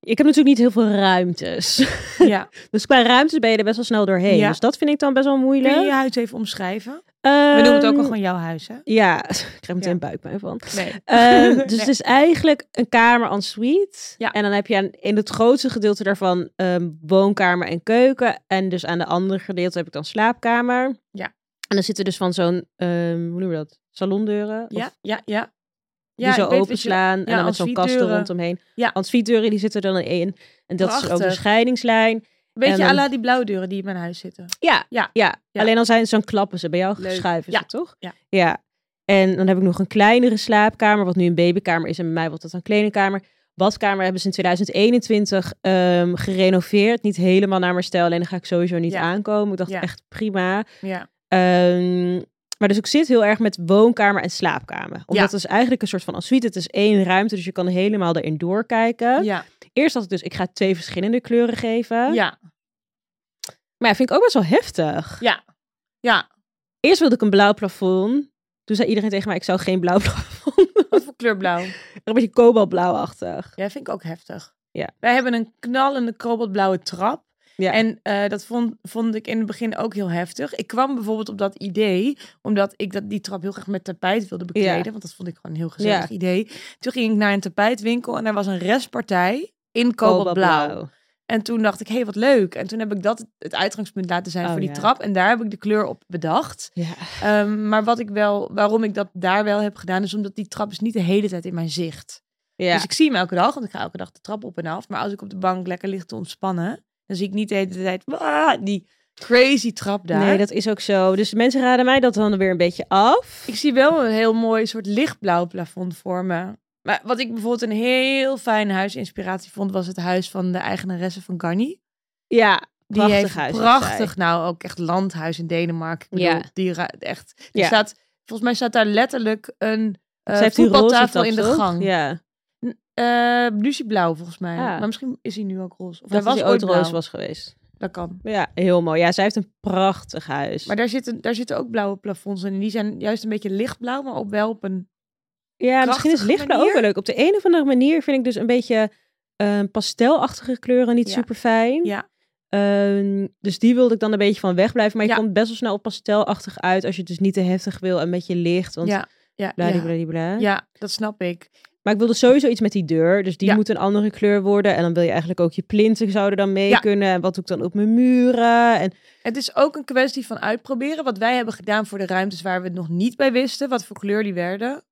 ik heb natuurlijk niet heel veel ruimtes.
Ja.
Dus qua ruimtes ben je er best wel snel doorheen.
Ja.
Dus dat vind ik dan best wel moeilijk.
Kun je je huis even omschrijven? We noemen het ook al
Ehm,
gewoon jouw huis, hè?
Ja, ik krijg meteen
Ja.
buikpijn van.
Nee.
Ehm, dus
Nee.
het is eigenlijk een kamer en suite.
Ja.
En dan heb je aan, in het grootste gedeelte daarvan ehm, woonkamer en keuken. En dus aan de andere gedeelte heb ik dan slaapkamer.
Ja.
En dan zitten dus van zo'n, ehm, hoe noem je dat? Salondeuren? Of
Ja, ja, ja.
die zo
ik weet wat je-
openslaan en dan met zo'n kast er
ensuite-deuren.
rondomheen.
Ja.
Ensuite-deuren, die zitten er dan in. En dat is ook
Prachtig.
een scheidingslijn.
Een beetje
En
à
dan-
la die blauwe deuren die in mijn huis zitten.
Ja,
Ja.
ja.
Ja.
alleen al zijn zo'n klappen ze bij jou
Leuk.
geschuiven,
Ja.
is dat toch?
Ja.
ja. En dan heb ik nog een kleinere slaapkamer, wat nu een babykamer is en bij mij wordt dat een kledingkamer. Badkamer hebben ze in 2021 ehm, gerenoveerd. Niet helemaal naar mijn stijl, alleen daar ga ik sowieso niet
Ja.
aankomen. Ik dacht
Ja.
echt prima.
Ja.
Ehm, maar dus ik zit heel erg met woonkamer en slaapkamer. Omdat
Ja.
het is eigenlijk een soort van ensuite. Het is één ruimte, dus je kan helemaal erin doorkijken.
Ja.
Eerst had ik dus, ik ga twee verschillende kleuren geven.
Ja.
Maar ja, vind ik ook best wel heftig.
Ja. Ja.
Eerst wilde ik een blauw plafond. Toen zei iedereen tegen mij, ik zou geen blauw plafond.
Wat voor kleur blauw?
een beetje kobaltblauwachtig.
Ja, vind ik ook heftig.
Ja.
Wij hebben een knallende kobaltblauwe trap.
Ja.
En eh, dat vond, vond ik in het begin ook heel heftig. Ik kwam bijvoorbeeld op dat idee, omdat ik dat, die trap heel graag met tapijt wilde bekleden. Want dat vond ik gewoon een heel gezellig
Ja.
idee. Toen ging ik naar een tapijtwinkel en daar was een restpartij in kobaltblauw. En toen dacht ik, hé, hey, wat leuk. En toen heb ik dat het uitgangspunt laten zijn
Oh,
voor die
ja.
trap. En daar heb ik de kleur op bedacht.
Ja.
Ehm, maar wat ik wel, waarom ik dat daar wel heb gedaan, is omdat die trap is niet de hele tijd in mijn zicht.
Ja.
Dus ik zie hem elke dag, want ik ga elke dag de trap op en af. Maar als ik op de bank lekker lig te ontspannen, dan zie ik niet de hele tijd "Wah", die crazy trap daar.
Nee, dat is ook zo. Dus mensen raden mij dat dan weer een beetje af.
Ik zie wel een heel mooi soort lichtblauw plafond voor me. Maar wat ik bijvoorbeeld een heel fijn huisinspiratie vond, was het huis van de eigenaresse van Garni.
Ja,
Die
prachtig
heeft
huis. heeft zij.
prachtig, nou ook echt landhuis in Denemarken. Ik
Ja.
bedoel, die ra- echt. Er
Ja.
staat, volgens mij staat daar letterlijk een eh
Ze heeft die roze
voetbaltafel
tap,
in de
toch?
gang. Eh
Ja.
Lucieblauw volgens mij.
Ja.
Maar misschien is hij nu ook roze. Of
Dat
hij
was
was
ooit roze
blauw.
was geweest.
Dat kan.
Ja, heel mooi. Ja, zij heeft een prachtig huis.
Maar daar zitten, daar zitten ook blauwe plafonds in. En die zijn juist een beetje lichtblauw, maar ook wel op een...
ja, misschien is
krachtige
lichtblauw ook
manier.
wel leuk. Op de een of andere manier vind ik dus een beetje eh, pastelachtige kleuren niet
Ja.
super fijn.
Ja.
Ehm, dus die wilde ik dan een beetje van wegblijven. Maar je
Ja.
komt best wel snel op pastelachtig uit als je het dus niet te heftig wil en met je licht. Want
ja, ja, ja.
bladibladibla.
ja, dat snap ik.
Maar ik wilde sowieso iets met die deur. Dus die
Ja.
moet een andere kleur worden. En dan wil je eigenlijk ook je plinten zouden dan mee
Ja.
kunnen. En wat doe ik dan op mijn muren? En
Het is ook een kwestie van uitproberen. Wat wij hebben gedaan voor de ruimtes waar we het nog niet bij wisten. Wat voor kleur die werden.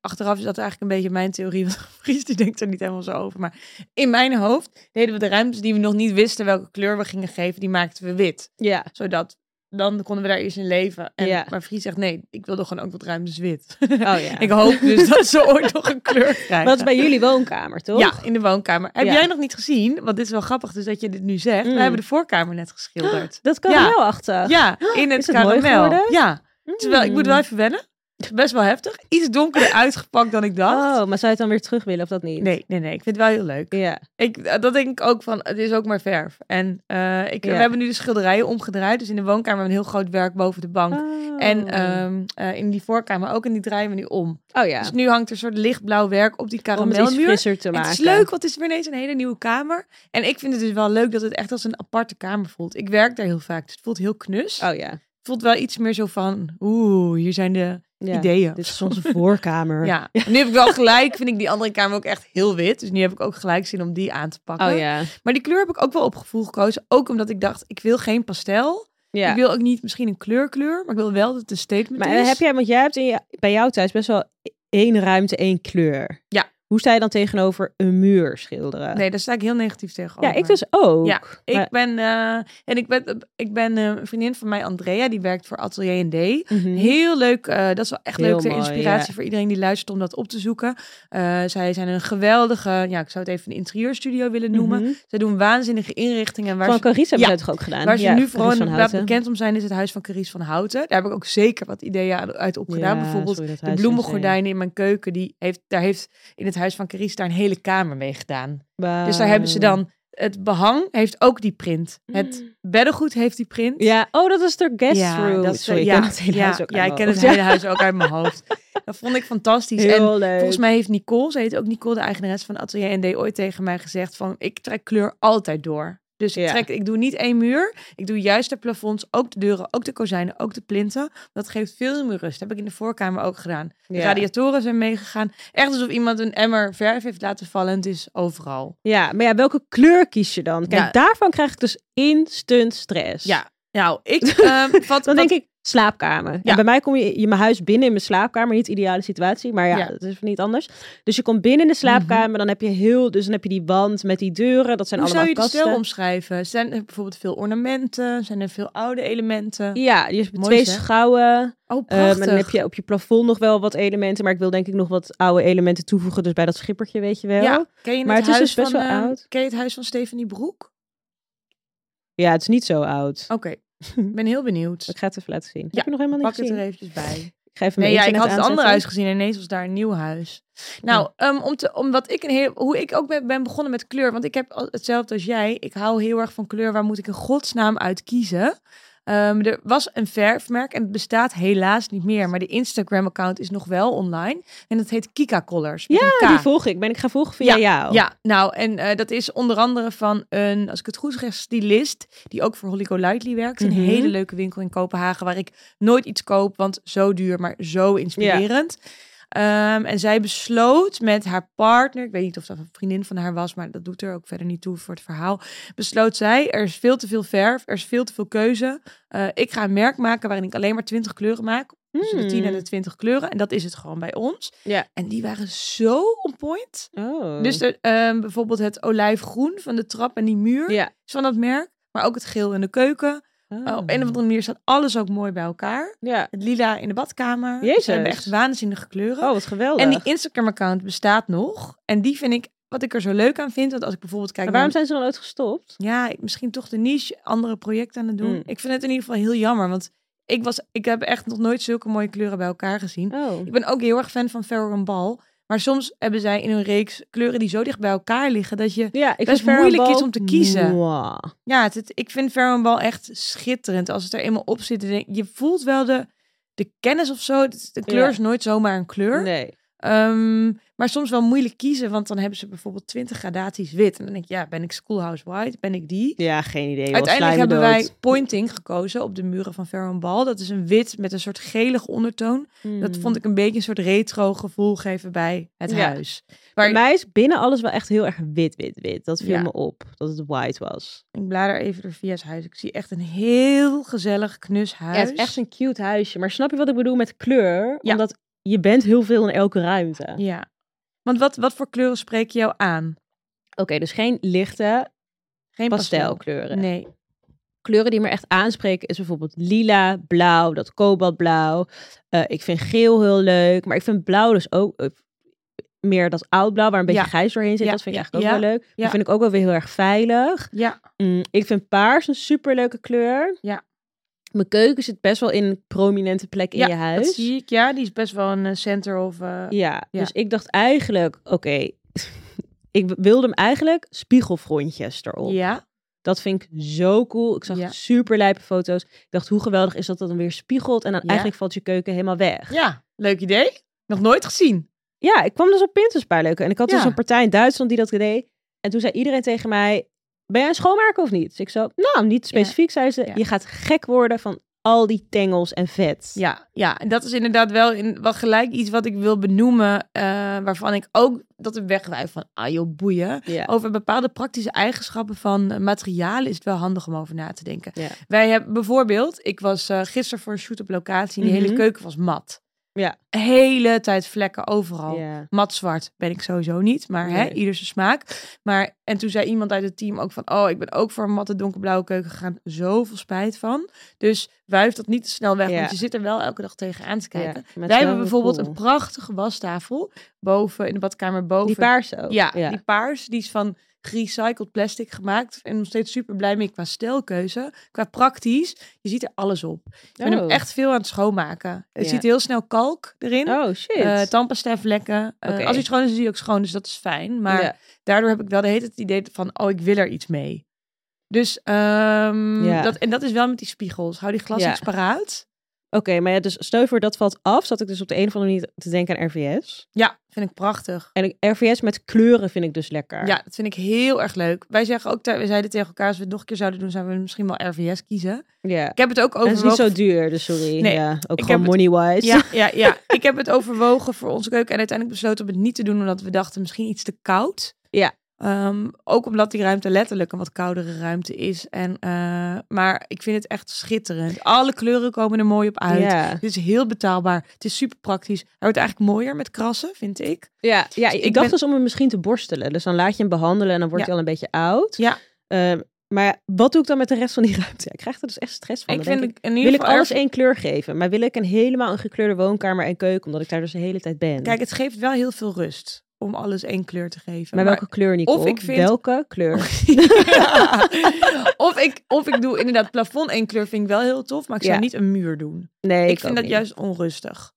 Achteraf is dat eigenlijk een beetje mijn theorie. Want Fries die denkt er niet helemaal zo over. Maar in mijn hoofd deden we de ruimtes die we nog niet wisten welke kleur we gingen geven. Die maakten we wit.
ja,
Zodat dan konden we daar eerst in leven. En,
Ja.
Maar Vries zegt, nee, ik wilde gewoon ook wat ruimte wit.
Oh ja.
Ik hoop dus dat ze ooit nog een kleur krijgen.
Wat is bij jullie woonkamer, toch?
Ja, in de woonkamer. Heb
Ja.
jij nog niet gezien, want dit is wel grappig dus dat je dit nu zegt.
Mm.
We hebben de voorkamer net geschilderd.
Dat kan
Ja.
wel achter.
Ja, in het,
Is het mooi
karamel.
geworden? Mm.
ja, het is wel, ik moet wel even wennen. Het is best wel heftig. Iets donkerder uitgepakt dan ik dacht.
Oh, maar zou je het dan weer terug willen of dat niet?
Nee, nee, nee. Ik vind het wel heel leuk.
Ja.
Ik, eh, dat denk ik ook van, het is ook maar verf. En eh, ik,
Ja.
we hebben nu de schilderijen omgedraaid. Dus in de woonkamer hebben we een heel groot werk boven de bank.
Oh.
En ehm, eh, in die voorkamer ook. En die draaien we nu om.
oh ja.
Dus nu hangt er een soort lichtblauw werk op die
Om het iets
karamelmuur.
frisser te maken.
Het is leuk, want het is weer ineens een hele nieuwe kamer. En ik vind het dus wel leuk dat het echt als een aparte kamer voelt. Ik werk daar heel vaak, dus het voelt heel knus.
Oh ja.
Het voelt wel iets meer zo van, oeh, hier zijn de
ja.
ideeën.
Dit is onze voorkamer.
Ja, nu heb ik wel gelijk, vind ik die andere kamer ook echt heel wit. Dus nu heb ik ook gelijk zin om die aan te pakken.
Oh ja.
Maar die kleur heb ik ook wel op gevoel gekozen. Ook omdat ik dacht, ik wil geen pastel.
Ja.
Ik wil ook niet misschien een kleurkleur, maar ik wil wel dat het een statement
Maar eh,
is.
heb jij, want jij hebt in je- bij jou thuis best wel e- één ruimte, één kleur.
Ja.
Hoe sta je dan tegenover een muur schilderen?
Nee, daar sta ik heel negatief tegenover.
ja, ik dus ook.
Ja,
Maar-
Ik ben, eh, en ik ben, ik ben eh, een vriendin van mij, Andrea, die werkt voor Atelier D.
Mhm.
Heel leuk, eh, dat is wel echt
Heel
leuk ter
mooi,
inspiratie
ja.
voor iedereen die luistert om dat op te zoeken. Eh, zij zijn een geweldige, ja, ik zou het even een interieurstudio willen noemen.
Mhm.
Zij doen waanzinnige inrichtingen. Waar
Van
ze,
Carice hebben
Ja.
ze het toch ook gedaan?
waar ze
Ja,
nu vooral
Carice van
inderdaad
Houten.
bekend om zijn, is het Huis van Caries van Houten. Daar heb ik ook zeker wat ideeën aan- uit opgedaan.
Ja,
Bijvoorbeeld
sorry, dat
de
huis is
bloemengordijnen in mijn keuken, die heeft, daar heeft in het Huis van Caries daar een hele kamer mee gedaan.
insane.
Dus daar hebben ze
Wauw.
dan, het behang heeft ook die print. Het
Mm.
beddengoed heeft die print.
Ja, oh, dat is de guest
Ja,
room.
dat is-
Sorry,
ja,
ik ken het hele
ja,
huis ook
ja, ik
uit
ken
mijn
het
hoofd.
hele huis ook uit mijn hoofd. Dat vond ik fantastisch. en
Heel leuk.
volgens mij heeft Nicole, ze heet ook Nicole, de eigenares van Atelier ND, ooit tegen mij gezegd van, ik trek kleur altijd door. Dus ik,
Ja.
trek, ik doe niet één muur. Ik doe juist de plafonds, ook de deuren, ook de kozijnen, ook de plinten. Dat geeft veel meer rust. Dat heb ik in de voorkamer ook gedaan. De
Ja.
radiatoren zijn meegegaan. Echt alsof iemand een emmer verf heeft laten vallen. en Het is overal.
Ja, maar ja, welke kleur kies je dan? Kijk,
Ja.
daarvan krijg ik dus instant stress.
Ja, nou, ik... ehm, wat,
Dan
wat-
denk ik, slaapkamer.
Ja.
En bij mij kom je, je mijn huis binnen in mijn slaapkamer. Niet ideale situatie, maar ja,
Ja. Mhm.
het is niet anders. Dus je komt binnen in de slaapkamer, dan heb je heel... Dus dan heb je die wand met die deuren. Dat zijn
Hoe zou
allemaal
je de
kasten.
stijl omschrijven? Zijn er bijvoorbeeld veel ornamenten? Zijn er veel oude elementen?
Ja, je hebt
Mooi
twee
zeg.
schouwen. Ehm,
Oh,
en
prachtig.
dan heb je op je plafond nog wel wat elementen. Maar ik wil denk ik nog wat oude elementen toevoegen. Dus bij dat schippertje, weet je wel.
ja, ken je
Maar
het,
het is
huis
dus best
van,
wel
eh,
oud.
Ken je het huis van Stephanie Broek?
Ja, het is niet zo oud.
Oké, ik ben heel benieuwd.
Ik ga het even laten zien.
Oh, Ja,
heb je nog helemaal niet
Pak het
gezien.
er eventjes bij.
Ik ga even
Nee,
mijn
ja, ik had
internet
het andere huis
aanzetten.
gezien en ineens was daar een nieuw huis. Nou, ehm, om te, omdat ik een heel, hoe ik ook ben, ben begonnen met kleur, want ik heb al- hetzelfde als jij. Ik hou heel erg van kleur. Waar moet ik in godsnaam uit kiezen? Ehm, er was een verfmerk en het bestaat helaas niet meer, maar de Instagram-account is nog wel online en dat heet Kika Colors. met een
Ja,
K.
die volg ik. Ben ik gaan volgen via jou.
Ja, nou, en eh, dat is onder andere van een, als ik het goed zeg, stylist, die ook voor Holly Golightly werkt.
Mhm.
Een hele leuke winkel in Kopenhagen, waar ik nooit iets koop, want zo duur, maar zo inspirerend. Ehm, en zij besloot met haar partner, ik weet niet of dat een vriendin van haar was, maar dat doet er ook verder niet toe voor het verhaal. Besloot zij, er is veel te veel verf, er is veel te veel keuze. Eh, ik ga een merk maken waarin ik alleen maar 20 kleuren maak. Tussen
Hmm.
de 10 en de 20 kleuren. En dat is het gewoon bij ons.
Mm. Ja.
En die waren zo on point.
Oh.
Dus er, ehm, bijvoorbeeld het olijfgroen van de trap en die muur
ja.
is van dat merk. Maar ook het geel in de keuken. Eh, op
Ah.
een of andere manier staat alles ook mooi bij elkaar.
Ja.
Het lila in de badkamer.
Jezus.
Ze hebben echt waanzinnige kleuren.
Oh, wat geweldig.
en die Instagram-account bestaat nog. En die vind ik, wat ik er zo leuk aan vind, dat als ik bijvoorbeeld kijk
maar waarom
naar...
zijn ze dan ooit gestopt?
Ja, ik- misschien toch de niche, andere projecten aan het doen.
Mm.
Ik vind het in ieder geval heel jammer, want ik, was, ik heb echt nog nooit zulke mooie kleuren bij elkaar gezien.
Oh.
Ik ben ook heel erg fan van Farrow en Ball. Maar soms hebben zij in hun reeks kleuren die zo dicht bij elkaar liggen dat je.
Ja, ik
Best
vind Farrah
moeilijk
Ball-
is om te kiezen.
Mwah.
Ja, het, het- ik vind Farrow en Ball echt schitterend. Als het er eenmaal op zit, dan denk, je voelt wel de, de kennis of zo. Het- De kleur
Ja.
is nooit zomaar een kleur.
Nee.
Ehm, maar soms wel moeilijk kiezen, want dan hebben ze bijvoorbeeld 20 gradaties wit. En dan denk ik, ja, ben ik Schoolhouse White? Ben ik die?
Ja, geen idee. joh.
Uiteindelijk
Slijmen
hebben wij
dood.
pointing gekozen op de muren van Farrow en Ball. Dat is een wit met een soort gelige ondertoon. Dat
Hmm.
vond ik een beetje een soort retro gevoel geven bij het
Ja.
huis.
Bij mij is binnen alles wel echt heel erg wit, wit, wit. Dat viel
Ja.
me op. Dat het white was.
Ik blader even door Via's huis. Ik zie echt een heel gezellig knus huis.
Ja, het is echt een cute huisje. Maar snap je wat ik bedoel met kleur?
Ja.
Omdat je bent heel veel in elke ruimte. Oké,
Ja. Want wat, wat voor kleuren spreken jou aan?
dus geen lichte
Geen pastel.
pastelkleuren.
Nee.
kleuren die me echt aanspreken is bijvoorbeeld lila, blauw, dat kobaltblauw. Eh, ik vind geel heel leuk, maar ik vind blauw dus ook eh, meer dat oudblauw waar een beetje
Ja.
grijs doorheen zit.
Ja,
Dat vind ik
ja,
eigenlijk ook
ja,
wel leuk.
ja.
Dat vind ik ook wel weer heel erg veilig.
Ja,
Mm, ik vind paars een superleuke kleur.
Ja.
Mijn keuken zit best wel in een prominente plek in
Ja,
je huis.
dat zie ik. Ja, die is best wel een eh, center of... eh,
Ja,
Ja.
dus ik dacht eigenlijk, oké, ik wilde hem eigenlijk spiegelfrontjes erop.
ja,
Dat vind ik zo cool. Ik zag
Ja.
super lijpe foto's. Ik dacht, hoe geweldig is dat dat dan weer spiegelt en dan
Ja.
eigenlijk valt je keuken helemaal weg.
ja, leuk idee. Nog nooit gezien.
Ja, ik kwam dus op Pinterest een paar leuke en ik had dus
Ja.
een partij in Duitsland die dat deed. En toen zei iedereen tegen mij, ben jij een schoonmaker of niet? Dus ik zo, nou, niet specifiek, zei ze.
Ja.
Je gaat gek worden van al die tengels en vet.
Ja, ja, en dat is inderdaad wel, in, wel gelijk iets wat ik wil benoemen, eh, waarvan ik ook dat we wegwijf van, ah joh, boeien.
Ja.
Over bepaalde praktische eigenschappen van eh, materialen is het wel handig om over na te denken.
Ja.
Wij hebben bijvoorbeeld, ik was eh, gisteren voor een shoot op locatie en die
Mhm.
hele keuken was mat.
Ja.
Hele tijd vlekken overal.
Ja.
Mat zwart ben ik sowieso niet, maar hè,
Nee.
ieder zijn smaak. Maar, en toen zei iemand uit het team ook van, oh, ik ben ook voor een matte donkerblauwe keuken gegaan. Zoveel spijt van. Dus wuif dat niet te snel weg,
Ja.
want je zit er wel elke dag tegenaan te
Ja, maar
kijken.
het is
Wij
wel
hebben bijvoorbeeld
cool.
een prachtige wastafel boven, in de badkamer
Die
boven.
paarse ook.
Ja, die paars, die is van gerecycled plastic gemaakt. En nog steeds super blij mee qua stijlkeuze. Qua praktisch, je ziet er alles op. Ik ben hem
Oh.
echt veel aan het schoonmaken. Het
Ja.
ziet heel snel kalk erin. eh
Oh, shit.
tandpasta vlekken. Eh,
Oké.
Als hij schoon is, is hij ook schoon. Dus dat is fijn. Maar
Ja.
daardoor heb ik wel de hele tijd het idee van... oh, ik wil er iets mee. Dus ehm,
Ja.
dat, en dat is wel met die spiegels. Hou die glas
Ja.
iets paraat.
Oké, maar ja, dus stel je voor dat valt af. Zat ik dus op de een of andere manier te denken aan RVS.
Ja, vind ik prachtig.
En ik- RVS met kleuren vind ik dus lekker.
Ja, dat vind ik heel erg leuk. Wij zeggen ook, te- we zeiden tegen elkaar... als we het nog een keer zouden doen... zouden we misschien wel RVS kiezen.
ja.
Ik heb het ook
En het is niet
overwogen.
zo duur, dus sorry.
Nee,
ja, ook
ik
gewoon
heb
money-wise.
Ja, ja, ja. ik heb het overwogen voor onze keuken en uiteindelijk besloten om het niet te doen, omdat we dachten misschien iets te koud.
Ja.
Ehm, ook omdat die ruimte letterlijk een wat koudere ruimte is. En, eh, maar ik vind het echt schitterend. Alle kleuren komen er mooi op uit.
Ja.
Het is heel betaalbaar. Het is super praktisch. Hij wordt eigenlijk mooier met krassen, vind ik.
Ja, ja, ik,
ik
dacht
ben-
dus om hem misschien te borstelen. Dus dan laat je hem behandelen en dan wordt
Ja.
hij al een beetje oud.
Ja.
Ehm, maar wat doe ik dan met de rest van die ruimte? Ja, ik krijg er dus echt stress van.
ik
dan denk
vind
ik,
het in ieder
wil ik
geval
alles
erg-
één kleur geven? Maar wil ik een helemaal een gekleurde woonkamer en keuken? Omdat ik daar dus de hele tijd ben.
Kijk, het geeft wel heel veel rust om alles één kleur te geven.
maar
Maar-
welke kleur, Nicole?
ik vind- Oh,
Welke kleur?
Ja. of, ik, of ik doe inderdaad plafond één kleur vind ik wel heel tof, maar ik zou
Ja.
niet een muur doen.
Nee,
Ik,
ook
vind dat
niet.
juist onrustig.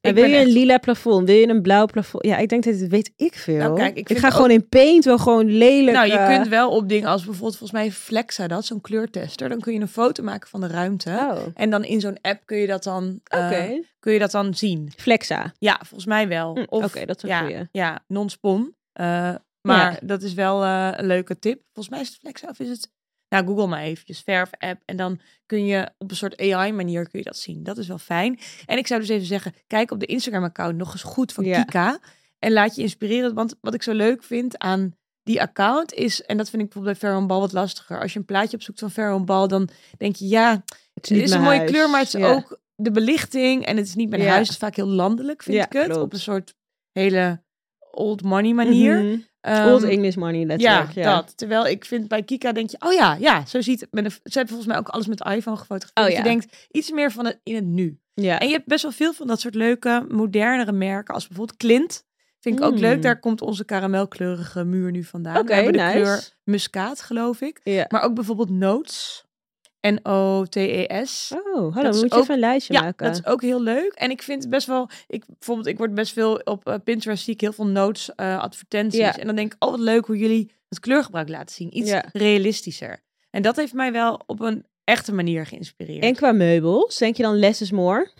En
Ik
wil
ben
je een
echt-
lila plafond? Wil je een blauw plafond? Ja, ik denk dat dit weet ik veel.
Nou, kijk, ik
ik
vind
ga
ook-
gewoon in paint wel gewoon lelijk.
Nou, je
eh,
kunt wel op dingen als bijvoorbeeld volgens mij Flexa dat, zo'n kleurtester. Dan kun je een foto maken van de ruimte.
Oh,
En dan in zo'n app kun je dat dan, eh,
oké.
kun je dat dan zien.
Flexa.
Ja, volgens mij wel.
Hm,
Of-
oké, dat is een goeie.
ja, ja, non-spon. Eh, maar dat is wel eh, een leuke tip. Volgens mij is het Flexa of is het... Nou, google maar eventjes. Verf app. En dan kun je op een soort AI manier kun je dat zien. Dat is wel fijn. En ik zou dus even zeggen, kijk op de Instagram account nog eens goed van
Ja.
Kika. En laat je inspireren. Want wat ik zo leuk vind aan die account is... En dat vind ik bijvoorbeeld bij Fair Ball wat lastiger. Als je een plaatje opzoekt van Fair Ball, dan denk je... Ja,
Het
het
niet
is een
mijn
mooie
huis.
kleur, maar het is
Ja.
ook de belichting. En het is niet mijn
Ja.
huis. Het is vaak heel landelijk, vind
Ja,
ik het.
klopt.
Op een soort hele old money manier.
Mhm.
Ehm,
Old English money,
ja,
letterlijk. Ja,
dat. Terwijl ik vind bij Kika denk je, oh ja, ja, zo ziet het. Met een, ze hebben volgens mij ook alles met de iPhone gefotografeerd.
Oh
Dus
ja.
Je denkt iets meer van het in het nu.
Ja.
En je hebt best wel veel van dat soort leuke, modernere merken. Als bijvoorbeeld Clint. Vind ik ook
Mm.
leuk. Daar komt onze karamelkleurige muur nu vandaan.
Oké,
We hebben de
nice.
kleur muskaat, geloof ik.
Ja.
Maar ook bijvoorbeeld Notes. N-O-T-E-S.
Oh, hallo,
dat is
moet je
ook-
even een lijstje
Ja,
maken.
dat is ook heel leuk. En ik vind het best wel... Ik, bijvoorbeeld, ik word best veel op eh, Pinterest zie ik heel veel notes, eh, advertenties.
Ja.
En dan denk ik, oh wat leuk hoe jullie het kleurgebruik laten zien. Iets
Ja.
realistischer. En dat heeft mij wel op een echte manier geïnspireerd.
En qua meubels, denk je dan less is more?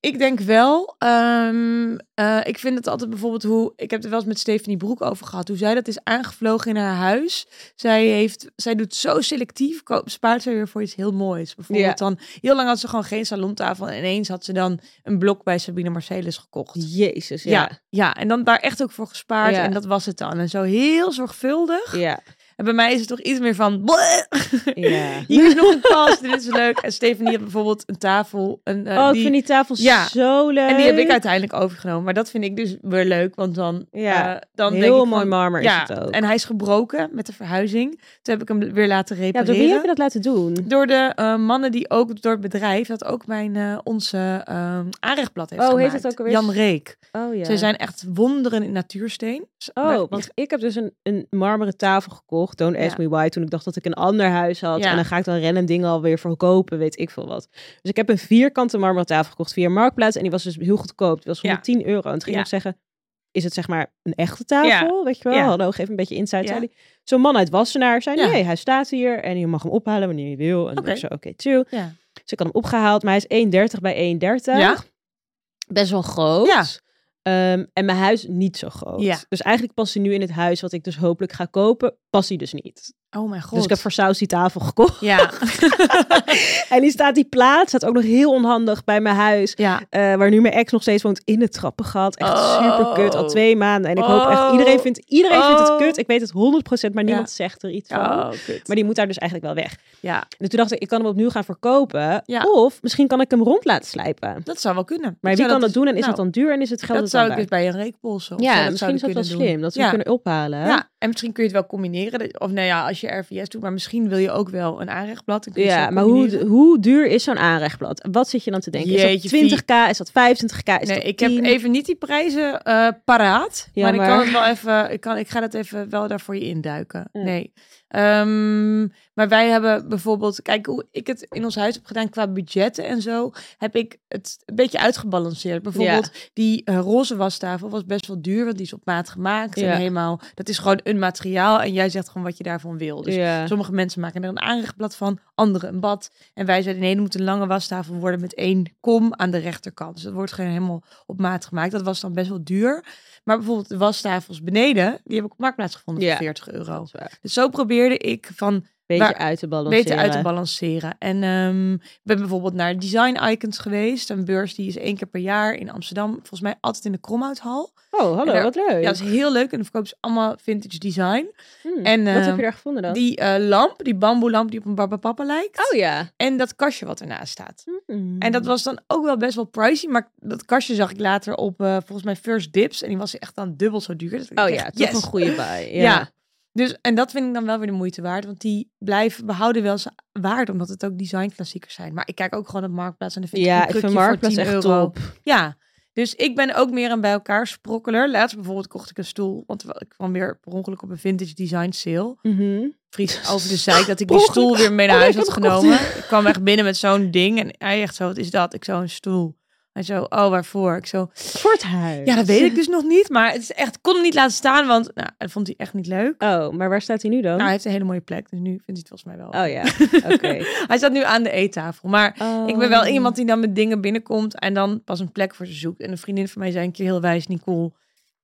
Ik denk wel. ehm, eh, ik vind het altijd bijvoorbeeld hoe. Ik heb er wel eens met Stephanie Broek over gehad. Hoe zij dat is aangevlogen in haar huis. Zij, heeft, zij doet zo selectief. ko- Spaart ze weer voor iets heel moois. Bijvoorbeeld
Ja.
dan. Heel lang had ze gewoon geen salontafel. En ineens had ze dan een blok bij Sabine Marcelis gekocht.
Jezus,
Ja,
ja.
ja, en dan daar echt ook voor gespaard.
Ja.
En dat was het dan. En zo heel zorgvuldig.
Ja,
En bij mij is het toch iets meer van... "Bleh,
Ja.
Hier is nog een kans, dit is leuk. En Stephanie had bijvoorbeeld een tafel. Een, eh,
Oh, ik
die-
vind die tafel
Ja.
zo leuk.
En die heb ik uiteindelijk overgenomen. Maar dat vind ik dus weer leuk, want dan,
Ja,
eh, dan denk
Heel
ik
mooi
van,
marmer
ja,
is het ook.
en hij is gebroken met de verhuizing. Toen heb ik hem weer laten
ja,
repareren.
door wie heb je dat laten doen?
Door de eh, mannen die ook door het bedrijf, dat ook mijn, eh, onze eh aanrechtblad heeft
Oh, heet
gemaakt.
het ook alweer?
Jan Reek.
Oh ja.
Zij zijn echt wonderen in natuursteen. Dus wij-
Oh, want ik heb dus een, een marmeren tafel gekocht. Don't ask
Ja.
me why. Toen ik dacht dat ik een ander huis had.
Ja.
En dan ga ik dan random dingen alweer verkopen. Weet ik veel wat. Dus ik heb een vierkante marmeren tafel gekocht via Marktplaats. En die was dus heel goedkoop. Die was
Ja.
110 euro. En toen ging
Ja.
ik zeggen... Is het zeg maar een echte tafel? Weet je wel?
Ja.
Hallo, geef een beetje insight.
Ja.
zei hij. Zo'n man uit Wassenaar zei...
Ja.
Nee, hij staat hier en je mag hem ophalen wanneer je wil. En toen
Oké.
ik zo, oké, chill.
Ja.
Dus ik had hem opgehaald. Maar hij is 1,30 bij 1,30.
Ja.
Best wel groot.
Ja.
Ehm, en mijn huis niet zo groot.
Ja.
Dus eigenlijk past hij nu in het huis wat ik dus hopelijk ga kopen, past hij dus niet.
Oh mijn god.
Dus ik heb voor Saus die tafel gekocht.
Ja,
En die staat, die plaat staat ook nog heel onhandig bij mijn huis.
ja.
eh, waar nu mijn ex nog steeds woont, in het trappengat. Echt
Oh.
super kut, al twee maanden. En ik hoop echt,
Oh.
iedereen vindt, iedereen vindt het
Oh.
kut. Ik weet het 100%, maar niemand zegt er iets van.
Oh, kut.
Maar die moet daar dus eigenlijk wel weg.
Ja,
En toen dacht ik, ik kan hem opnieuw gaan verkopen.
Ja.
Of misschien kan ik hem rond laten slijpen.
dat zou wel kunnen.
Maar
Ik
wie kan
zou
dat doen en is
nou,
het dan duur en is het geld
Dat
het dan
zou ik dus
waard?
bij een reek polsen. of zo,
Ja,
dat
misschien is dat
zouden
wel
kunnen
slim,
doen.
dat ze
Ja.
hem kunnen ophalen.
Ja, en misschien kun je het wel combineren. Dat- Of nou ja, als je RVS doet, maar misschien wil je ook wel een aanrechtblad. dan kun je het
Ja,
zo
maar hoe,
combineren.
hoe duur is zo'n aanrechtblad? Wat zit je dan te denken?
Jeetje,
is dat 20k? Is dat 25k? Is
Nee,
dat
ik heb
10?
even niet die prijzen eh, paraat.
Ja,
maar, ik
maar-
kan het wel even. Ik, kan, ik ga dat even wel daarvoor je induiken.
Ja.
Nee. Ehm, maar wij hebben bijvoorbeeld. Kijk, hoe ik het in ons huis heb gedaan qua budgetten en zo. Heb ik het een beetje uitgebalanceerd. Bijvoorbeeld die eh, roze wastafel was best wel duur. Want die is op maat gemaakt.
Ja.
En helemaal. Dat is gewoon een materiaal. En jij zegt gewoon wat je daarvan wil. Dus
ja.
Sommige mensen maken er een aanrechtblad van, anderen een bad. En wij zeiden nee, er moet een lange wastafel worden met één kom aan de rechterkant. Dus dat wordt gewoon helemaal op maat gemaakt. Dat was dan best wel duur. Maar bijvoorbeeld de wastafels beneden, die heb ik op Marktplaats gevonden
Ja.
voor 40 euro.
Dat is waar.
Dus zo probeerde ik van
Beetje
Waar-
uit te balanceren.
beter uit te balanceren. En ehm, ik ben bijvoorbeeld naar Design Icons geweest. Een beurs die is één keer per jaar in Amsterdam. Volgens mij altijd in de Kromhouthal.
Oh, hallo,
En daar-
wat leuk.
Ja, dus, dat is heel leuk. En dan verkopen ze allemaal vintage design.
Hmm.
En
wat heb
ehm,
je daar gevonden dan?
die eh, lamp, die bamboelamp die op een barbapapa lijkt.
Oh ja.
En dat kastje wat ernaast staat.
Hmm.
En dat was dan ook wel best wel pricey. Maar dat kastje zag ik later op eh, volgens mij First Dips. En die was echt dan dubbel zo duur. Dat ik
Oh
echt,
ja, toch
yes.
een goede bij.
Ja.
Ja.
Dus, en dat vind ik dan wel weer de moeite waard. Want die blijven behouden wel zijn waarde. Omdat het ook designklassiekers zijn. Maar ik kijk ook gewoon op Marktplaats. En dan vind
Ja,
ik
ik
een
vind
krukje voor
Marktplaats
10
echt
euro.
top.
Ja, dus ik ben ook meer een bij elkaar sprokkeler. Laatst bijvoorbeeld kocht ik een stoel. Want ik kwam weer per ongeluk op een vintage design sale
Mhm.
friet over de zeik dat ik
Per
die
ongeluk.
stoel weer mee naar
Oh,
huis
ik
had
heb hem
genomen. Ik kwam echt binnen met zo'n ding en hij echt zo, wat is dat? Ik zo, een stoel. Hij zo, oh, waarvoor? Ik zo,
Voor het huis.
ja, dat weet ik dus nog niet, maar het is echt, ik kon hem niet laten staan, want nou, dat vond hij echt niet leuk.
Oh, maar waar staat hij nu dan?
Nou, hij heeft een hele mooie plek, dus nu vindt hij het volgens mij wel.
oh ja, oké.
Hij staat nu aan de eettafel, maar ik ben wel
Oh.
iemand die dan met dingen binnenkomt en dan pas een plek voor ze zoekt. En een vriendin van mij zei een keer heel wijs, Nicole,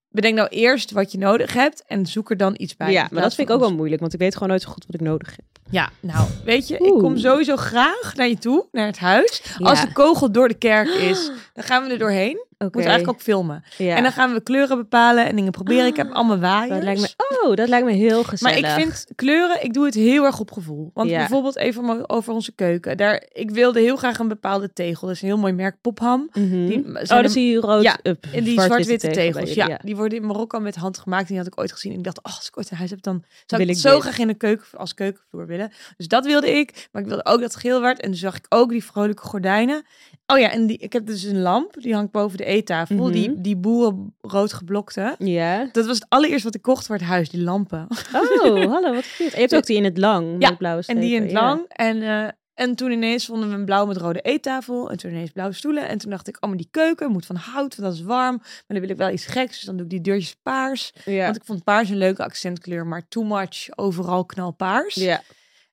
bedenk nou eerst wat je nodig hebt en zoek er dan iets bij. in
Ja, maar dat
plaats
vind ik
van
ook wel moeilijk, want ik weet gewoon nooit zo goed wat ik nodig heb.
Ja, nou, weet je, ik kom
Oeh.
sowieso graag naar je toe, naar het huis. Als
Ja.
de kogel door de kerk is, dan gaan we er doorheen. Ik
Oké.
moet eigenlijk ook filmen.
Ja. Ah.
En dan gaan we kleuren bepalen en dingen proberen. Ik heb allemaal waaiers.
dat lijkt me, oh, dat lijkt me heel
dus- Maar
gezellig.
ik vind kleuren, ik doe het heel erg op gevoel. Want
Ja.
bijvoorbeeld even om- over onze keuken. Daar, ik wilde heel graag een bepaalde tegel. Dat is een heel mooi merk, Popham.
Mhm.
Die,
Oh,
zijn
dat
er-
zie je rood.
Ja,
eh,
en die
zwart-witte
zwart-witte
tegel bij
tegels,
jullie,
ja, Die worden in Marokko met hand gemaakt. En die had ik ooit gezien. En ik dacht, oh, als ik ooit een huis heb, dan zou
Wil
ik
ik
het zo
dit.
graag in een keuken, als keukenvloer willen. Dus dat wilde ik. Maar ik wilde ook dat het geel werd. En toen zag ik ook die vrolijke gordijnen. Oh ja, en die, ik heb dus een lamp. Die hangt boven de eettafel.
Mhm.
Die, die boerenrood geblokte.
Ja.
Dat was het allereerst wat ik kocht voor het huis, die lampen.
Oh, hallo, wat cute. En je hebt ook die in het lang, met
Ja,
die blauwe
En die in het
strepen, ja.
lang. En, eh, en toen ineens vonden we een blauw met rode eettafel. En toen ineens blauwe stoelen. En toen dacht ik, oh, maar die keuken moet van hout, want dat is warm. Maar dan wil ik wel iets geks. Dus dan doe ik die deurtjes paars.
Ja.
Want ik vond paars een leuke accentkleur, maar too much overal knalpaars.
ja.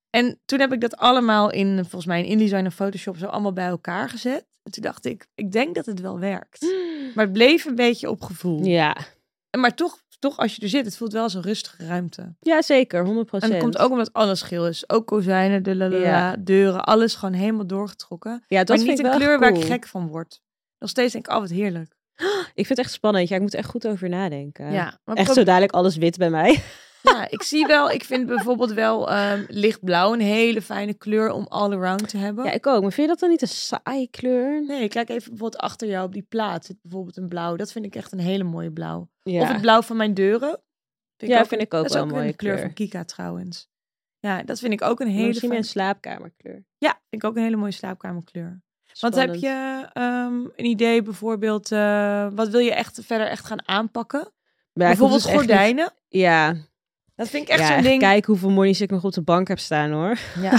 En toen heb ik dat allemaal in, volgens mij in InDesign en Photoshop zo allemaal bij elkaar gezet. En toen dacht ik, ik denk dat het wel werkt. Maar het bleef een beetje op gevoel.
Ja.
En Maar toch, toch als je er zit, het voelt wel als een rustige ruimte.
ja, zeker, 100
En dat komt ook omdat alles geel is. Ook kozijnen, de lalala,
Ja.
deuren, alles gewoon helemaal doorgetrokken.
Ja, dat
Dat maar
vind ik
niet
wel
een
echt
kleur waar ik
cool.
gek van word. Nog steeds denk ik, oh wat heerlijk.
Ik vind het echt spannend. Ja, ik moet er echt goed over nadenken.
Ja, maar
Echt
probeer-
zo dadelijk alles wit bij mij.
Ja, ik zie wel, ik vind bijvoorbeeld wel ehm, lichtblauw een hele fijne kleur om all around te hebben.
Ja, ik ook. Maar vind je dat dan niet een saai kleur?
Nee, kijk even bijvoorbeeld achter jou op die plaat zit bijvoorbeeld een blauw. Dat vind ik echt een hele mooie blauw.
Ja,
Of het blauw van mijn deuren.
ja
ook
vind
een-
ik ook
dat is
wel
ook
een
weer
mooie
de kleur,
kleur.
van Kika trouwens. Ja, dat vind ik ook een
Maar
hele
Misschien
fijne-
een slaapkamerkleur.
Ja, vind ik ook een hele mooie slaapkamerkleur. Want heb
Spannend.
je ehm, een idee bijvoorbeeld, eh, wat wil je echt verder echt gaan aanpakken?
Maar ja, ik hoef
bijvoorbeeld
dus echt niet-
gordijnen.
Ja,
Dat vind ik echt
ja,
zo'n
echt
ding.
Kijk hoeveel monies ik nog op de bank heb staan hoor.
Ja.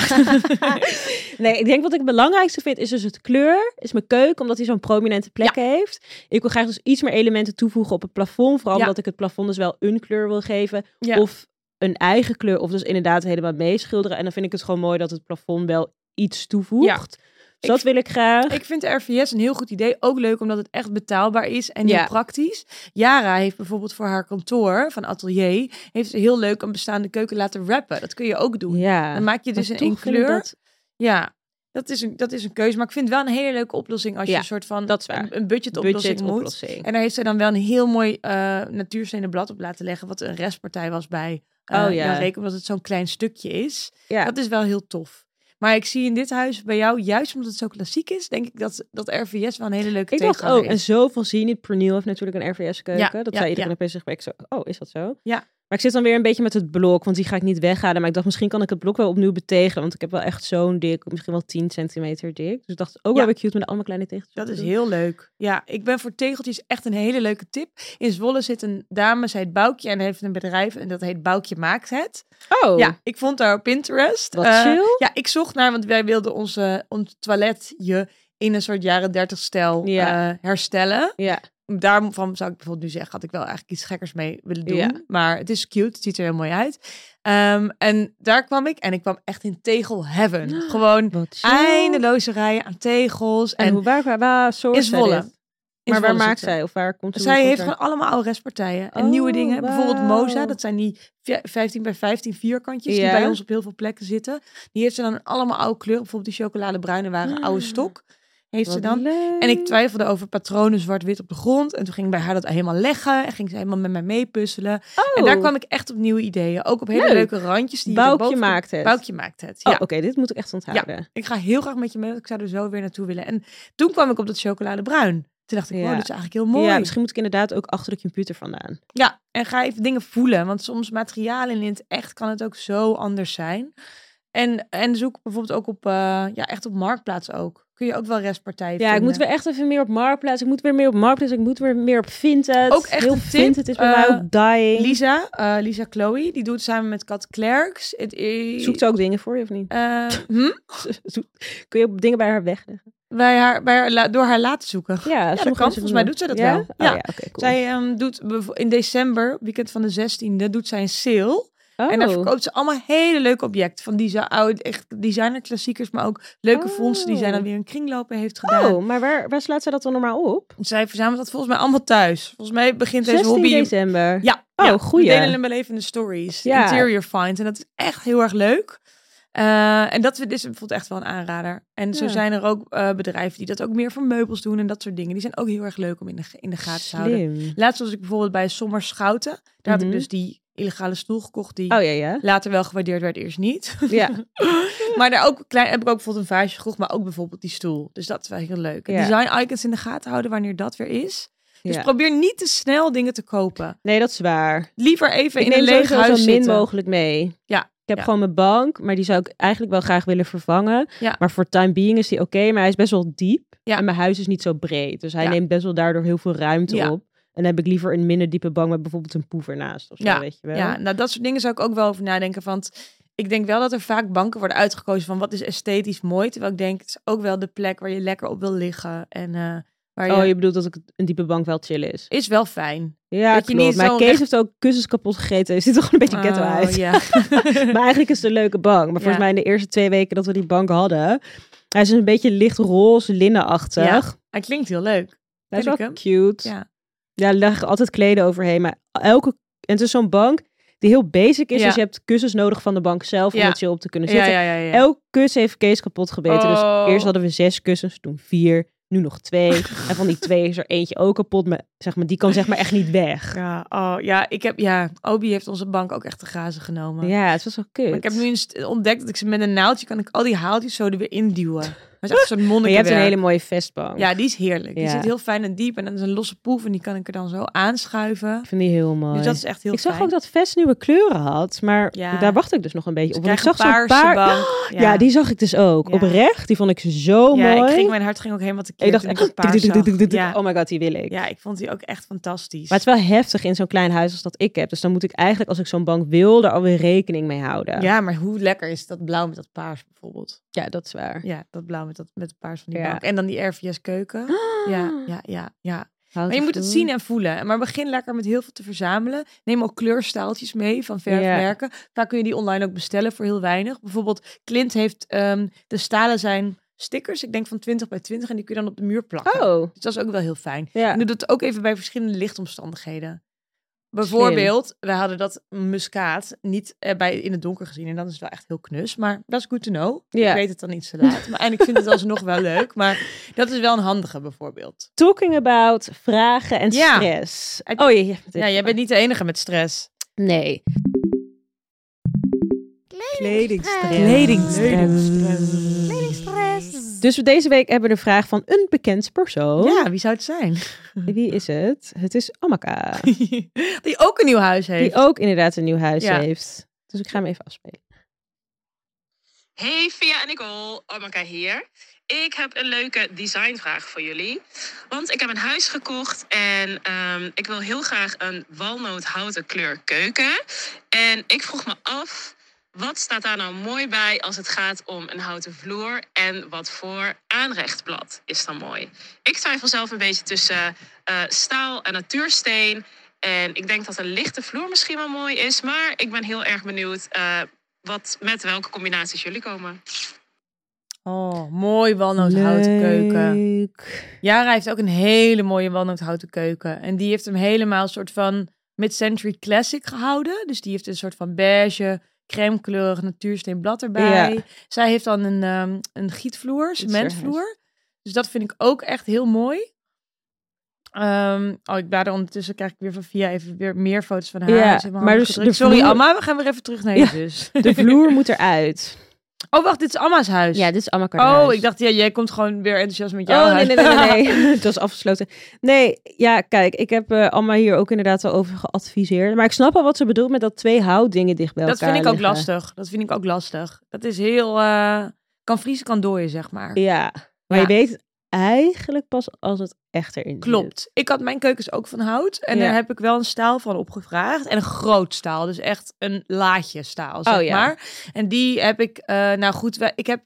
nee, ik denk wat ik het belangrijkste vind is dus het kleur. Is mijn keuken, omdat hij zo'n prominente plek heeft. Ik wil graag dus iets meer elementen toevoegen op het plafond. Vooral
Ja.
omdat ik het plafond dus wel een kleur wil geven.
Ja.
Of een eigen kleur. Of dus inderdaad helemaal meeschilderen. En dan vind ik het gewoon mooi dat het plafond wel iets toevoegt. Dus dat wil ik graag.
Ik vind de RVS een heel goed idee. Ook leuk omdat het echt betaalbaar is en heel
Ja.
praktisch. Yara heeft bijvoorbeeld voor haar kantoor van Atelier... heeft ze heel leuk een bestaande keuken laten wrappen. Dat kun je ook doen.
ja.
Dan maak je dus
Maar
in één
toch vind ik
kleur.
dat-
Ja, dat is, een, dat is een keuze. Maar ik vind het wel een hele leuke oplossing als je
Ja,
een soort van
dat is waar.
Een, een budgetoplossing
budget
moet.
oplossing.
En daar heeft zij dan wel een heel mooi eh natuurstenen blad op laten leggen... wat een restpartij was bij eh
Oh ja.
Jan Reek, omdat het zo'n klein stukje is.
Ja.
Dat is wel heel tof. Maar ik zie in dit huis bij jou, juist omdat het zo klassiek is, denk ik dat, dat RVS wel een hele leuke
Ik dacht oh,
tegenhanger
ook, en
is.
zoveel zien niet. Pernil heeft natuurlijk een RVS-keuken.
Ja,
dat
ja,
zei iedereen
ja.
opeens zich bij. Ik zo, oh, is dat zo?
Ja.
Maar ik zit dan weer een beetje met het blok, want die ga ik niet weghalen. Maar ik dacht, misschien kan ik het blok wel opnieuw betegelen. Want ik heb wel echt zo'n dik, misschien wel 10 centimeter dik. Dus ik dacht, ook
Ja.
wel weer cute met allemaal kleine tegels.
Dat is heel leuk. Ja, ik ben voor tegeltjes echt een hele leuke tip. In Zwolle zit een dame, zij heet Boukje en heeft een bedrijf en dat heet Boukje Maakt Het.
Oh,
Ja, ik vond haar op Pinterest.
Wat
Eh,
chill.
Ja, ik zocht naar, want wij wilden onze, ons toiletje in een soort jaren dertig stijl
Ja.
eh, herstellen.
ja.
daarvan zou ik bijvoorbeeld nu zeggen, had ik wel eigenlijk iets gekkers mee willen doen.
Ja.
Maar het is cute, het ziet er heel mooi uit. Ehm, en daar kwam ik en ik kwam echt in tegel heaven. Gewoon
Wat chill.
eindeloze rijen aan tegels.
Ah, En,
En,
hoe, waar, waar, waar source
In Zwolle.
zij dit? Maar waar
Zwolle
maakt
zit ze.
zij? Of waar komt ze?
Zij
hoe
heeft
komt
gewoon allemaal oude restpartijen en
Oh,
nieuwe dingen. Bijvoorbeeld Moza,
wauw.
dat zijn die vi- 15 bij 15 vierkantjes
Ja.
die bij ons op heel veel plekken zitten. Die heeft ze dan in allemaal oude kleuren. Bijvoorbeeld die chocoladebruine waren
Ah.
oude stok. Heeft
Wat
ze dan.
leuk.
En ik twijfelde over patronen zwart-wit op de grond. En toen ging ik bij haar dat helemaal leggen. En ging ze helemaal met mij meepuzzelen.
Oh,
En daar kwam ik echt op nieuwe ideeën. Ook op hele
Leuk.
leuke randjes. Die je
Boukje
erboven-
maakt het.
Boukje maakt het, ja.
Oh, oké, dit moet ik echt onthouden.
Ik ga heel graag met je mee, want ik zou er zo weer naartoe willen. En toen kwam ik op dat chocoladebruin. Toen dacht ik, wow,
Ja.
dit is eigenlijk heel mooi.
Ja,
Ja,
misschien moet ik inderdaad ook achter de computer vandaan.
en ga even dingen voelen. Want soms materialen in het echt kan het ook zo anders zijn. En, en zoek bijvoorbeeld ook op, eh, ja, echt op Marktplaats ook. Kun je ook wel
Ja,
restpartijen
ik
vinden.
moet weer echt even meer op Marktplaats. Ik moet weer meer op Marktplaats. Ik moet weer meer op Vinted.
Ook echt
Heel
een tip,
Vinted is bij
eh,
mij ook dying.
Lisa, eh, Lisa Chloe, die doet samen met Kat Klerks. Het is-
Zoekt ze ook dingen voor je of niet?
Eh, hm?
Zoekt- Kun je ook dingen bij haar wegleggen?
bij haar, bij haar, la- door haar laten zoeken.
Ja, sommige
kan.
mensen
Volgens mij
dat.
doet ze dat
ja?
wel.
Oh,
Ja.
ja, oké, cool.
Zij ehm, doet bevo- in december, weekend van de 16e, doet zij een sale.
Oh.
En daar verkoopt ze allemaal hele leuke objecten. Van desa- oude echt designer klassiekers, maar ook leuke
Oh.
fondsen die zij dan weer een kringlopen heeft gedaan.
Oh, maar waar, waar slaat zij dat dan normaal op?
Zij verzamelt dat volgens mij allemaal thuis. Volgens mij begint deze
16
hobby...
december.
Ja,
Oh,
ja.
goeie.
We delen hem wel even in de stories.
Ja.
Interior finds. En dat is echt heel erg leuk. Eh, en dat we- dit is bijvoorbeeld echt wel een aanrader. En zo
Ja.
zijn er ook eh, bedrijven die dat ook meer voor meubels doen en dat soort dingen. Die zijn ook heel erg leuk om in de, in de gaten te houden.
Slim.
Laatst was ik bijvoorbeeld bij Sommers Schouten. Daar had ik
Mhm.
dus die illegale stoel gekocht die
Oh ja, ja.
later wel gewaardeerd werd, eerst niet.
Ja,
maar daar ook klein, heb ik ook bijvoorbeeld een vaasje gekocht, maar ook bijvoorbeeld die stoel. Dus dat is wel heel leuk. En
Ja.
Design icons in de gaten houden wanneer dat weer is. Dus
ja.
probeer niet te snel dingen te kopen.
Nee, dat is waar.
Liever even
Ik
in een
neem
leeg
sowieso
huis
zo min
zitten.
mogelijk mee.
Ja,
Ik heb
ja.
gewoon mijn bank, maar die zou ik eigenlijk wel graag willen vervangen.
Ja.
Maar voor time being is die oké, maar hij is best wel diep.
Ja.
En mijn huis is niet zo breed. Dus hij
Ja.
neemt best wel daardoor heel veel ruimte
Ja.
op. En dan heb ik liever een minder diepe bank met bijvoorbeeld een poever naast of zo,
Ja,
weet je wel.
Ja, nou dat soort dingen zou ik ook wel over nadenken. Want ik denk wel dat er vaak banken worden uitgekozen van wat is esthetisch mooi. Terwijl ik denk, het is ook wel de plek waar je lekker op wil liggen. En eh, waar je,
Oh, je bedoelt dat ik een diepe bank wel chill is.
is wel fijn.
Ja,
Dat je
klopt.
niet
Maar
zo'n
Kees
recht-
heeft ook kussens kapot gegeten. Hij ziet er gewoon een beetje ghetto
Oh,
uit.
Ja.
Maar eigenlijk is het een leuke bank. Maar volgens
Ja.
mij in de eerste twee weken dat we die bank hadden... Hij is dus een beetje lichtroze, linnenachtig.
Ja, Hij klinkt heel leuk.
Hij is
Ken
wel
ik hem.
cute.
Ja.
Ja, leg altijd kleden overheen. Maar elke... En het is zo'n bank die heel basic is.
Ja.
Dus je hebt kussens nodig van de bank zelf om
Ja.
er chill op te kunnen
Ja,
zitten.
ja, ja. ja.
Elk kussen heeft Kees kapot gebeten. Dus
Oh.
eerst hadden we zes kussens, toen vier. nu nog twee. en van die twee is er eentje ook kapot, maar, zeg maar, die kan zeg maar echt niet weg.
Ja, oh, ja, ik heb, ja, Obi heeft onze bank ook echt te grazen genomen.
Ja, het was wel kut.
Maar ik heb nu eens ontdekt dat ik ze met een naaldje kan ik al die haaltjes zo er weer induwen. Dat is echt zo'n
Maar je hebt een
monnikenwerk.
hele mooie vestbank.
Ja, die is heerlijk. Die
Ja.
zit heel fijn en diep en dan is een losse poef en die kan ik er dan zo aanschuiven.
Ik vind die heel mooi.
Dus dat is echt heel
ik zag
fijn.
ook dat vest nieuwe kleuren had, maar
Ja.
daar wacht ik dus nog een beetje
Dus
op.
ik
Want ik
krijg
zag
een
zo'n
paarse
paar...
bank. Ja,
Ja, die zag ik dus ook.
Ja.
Oprecht, die vond ik zo
ja,
mooi.
ik ging, mijn hart ging ook helemaal te
En ik dacht,
toen ik dat paars
tik, tik, tik,
zag.
tik, tik, tik.
Ja.
oh my god, die wil ik.
ja, ik vond die ook echt fantastisch.
Maar het is wel heftig in zo'n klein huis als dat ik heb. Dus dan moet ik eigenlijk, als ik zo'n bank wil, daar alweer rekening mee houden.
Ja, maar hoe lekker is dat blauw met dat paars bijvoorbeeld?
Ja, dat is waar.
Ja, dat blauw met dat met het paars van die
Ja.
bank. En dan die RVS keuken. Ja, ja, ja, ja.
Houd
Maar je
het
moet het
goed.
zien en voelen. Maar begin lekker met heel veel te verzamelen. Neem ook kleurstaaltjes mee van verfmerken. Vaak kun je die online ook bestellen voor heel weinig. Bijvoorbeeld Clint heeft, ehm, de stalen zijn stickers. Ik denk van 20 bij 20 en die kun je dan op de muur plakken.
Oh,
Dus dat is ook wel heel fijn.
ja.
En doe dat ook even bij verschillende lichtomstandigheden. Bijvoorbeeld, we hadden dat muskaat niet eh, bij, in het donker gezien. En dat is wel echt heel knus. Maar dat is good to know.
Ja.
Ik weet het dan iets te laat. Maar, en ik vind het alsnog wel leuk. Maar dat is wel een handige bijvoorbeeld.
Talking about vragen en
Ja.
stress.
Uit-
Oh, je,
Ja, jij bent niet de enige met stress.
Nee.
Kledingstress. Kledingstress.
Dus we deze week hebben we de vraag van een bekend persoon.
Ja, wie zou het zijn?
Wie is het? Het is Amaka.
Die ook een nieuw huis heeft.
Die ook inderdaad een nieuw huis
Ja.
heeft. Dus ik ga hem even afspelen.
Hey Via en Nicole, Amaka hier. Ik heb een leuke designvraag voor jullie. Want ik heb een huis gekocht en ehm, ik wil heel graag een walnoothouten kleur keuken. En ik vroeg me af, wat staat daar nou mooi bij als het gaat om een houten vloer? En wat voor aanrechtblad is dan mooi? Ik twijfel zelf een beetje tussen eh, staal en natuursteen. En ik denk dat een lichte vloer misschien wel mooi is. Maar ik ben heel erg benieuwd eh, wat, met welke combinaties jullie komen.
Oh, mooi walnoothouten keuken.
Leuk.
Jara heeft ook een hele mooie walnoothouten keuken. En die heeft hem helemaal soort van mid-century classic gehouden. Dus die heeft een soort van beige, crème kleurig natuursteenblad erbij.
Ja.
Zij heeft dan een, ehm, een gietvloer,
haar
cementvloer. Dus dat vind ik ook echt heel mooi. Ehm, oh, ik blader ondertussen, krijg ik weer van Via even weer meer foto's van haar.
Ja,
Ze heeft mijn
maar
handen
dus
gedrukt.
de
Sorry
vloer-
Amma, we gaan weer even terug naar
Ja.
je zus.
De vloer moet eruit.
Oh, wacht, dit is Amma's huis.
Ja, dit is Amaka.
oh, ik dacht, ja, jij komt gewoon weer enthousiast met jouw
Oh, nee,
huis.
nee, nee, nee. nee. Het was afgesloten. Nee, ja, kijk, ik heb eh Amma hier ook inderdaad al over geadviseerd. Maar ik snap al wat ze bedoelt met dat twee houtdingen dicht bij
Dat
elkaar
vind ik ook
liggen.
lastig. Dat vind ik ook lastig. Dat is heel. eh, kan vriezen, kan dooien, zeg maar.
Ja, maar
Ja.
je weet eigenlijk pas als het echt erin zit.
Klopt. Ik had mijn keukens ook van hout. En
Ja.
daar heb ik wel een staal van opgevraagd. En een groot staal. Dus echt een laadje staal, zeg
Oh, ja.
maar. En die heb ik. eh, nou goed, wij- ik heb.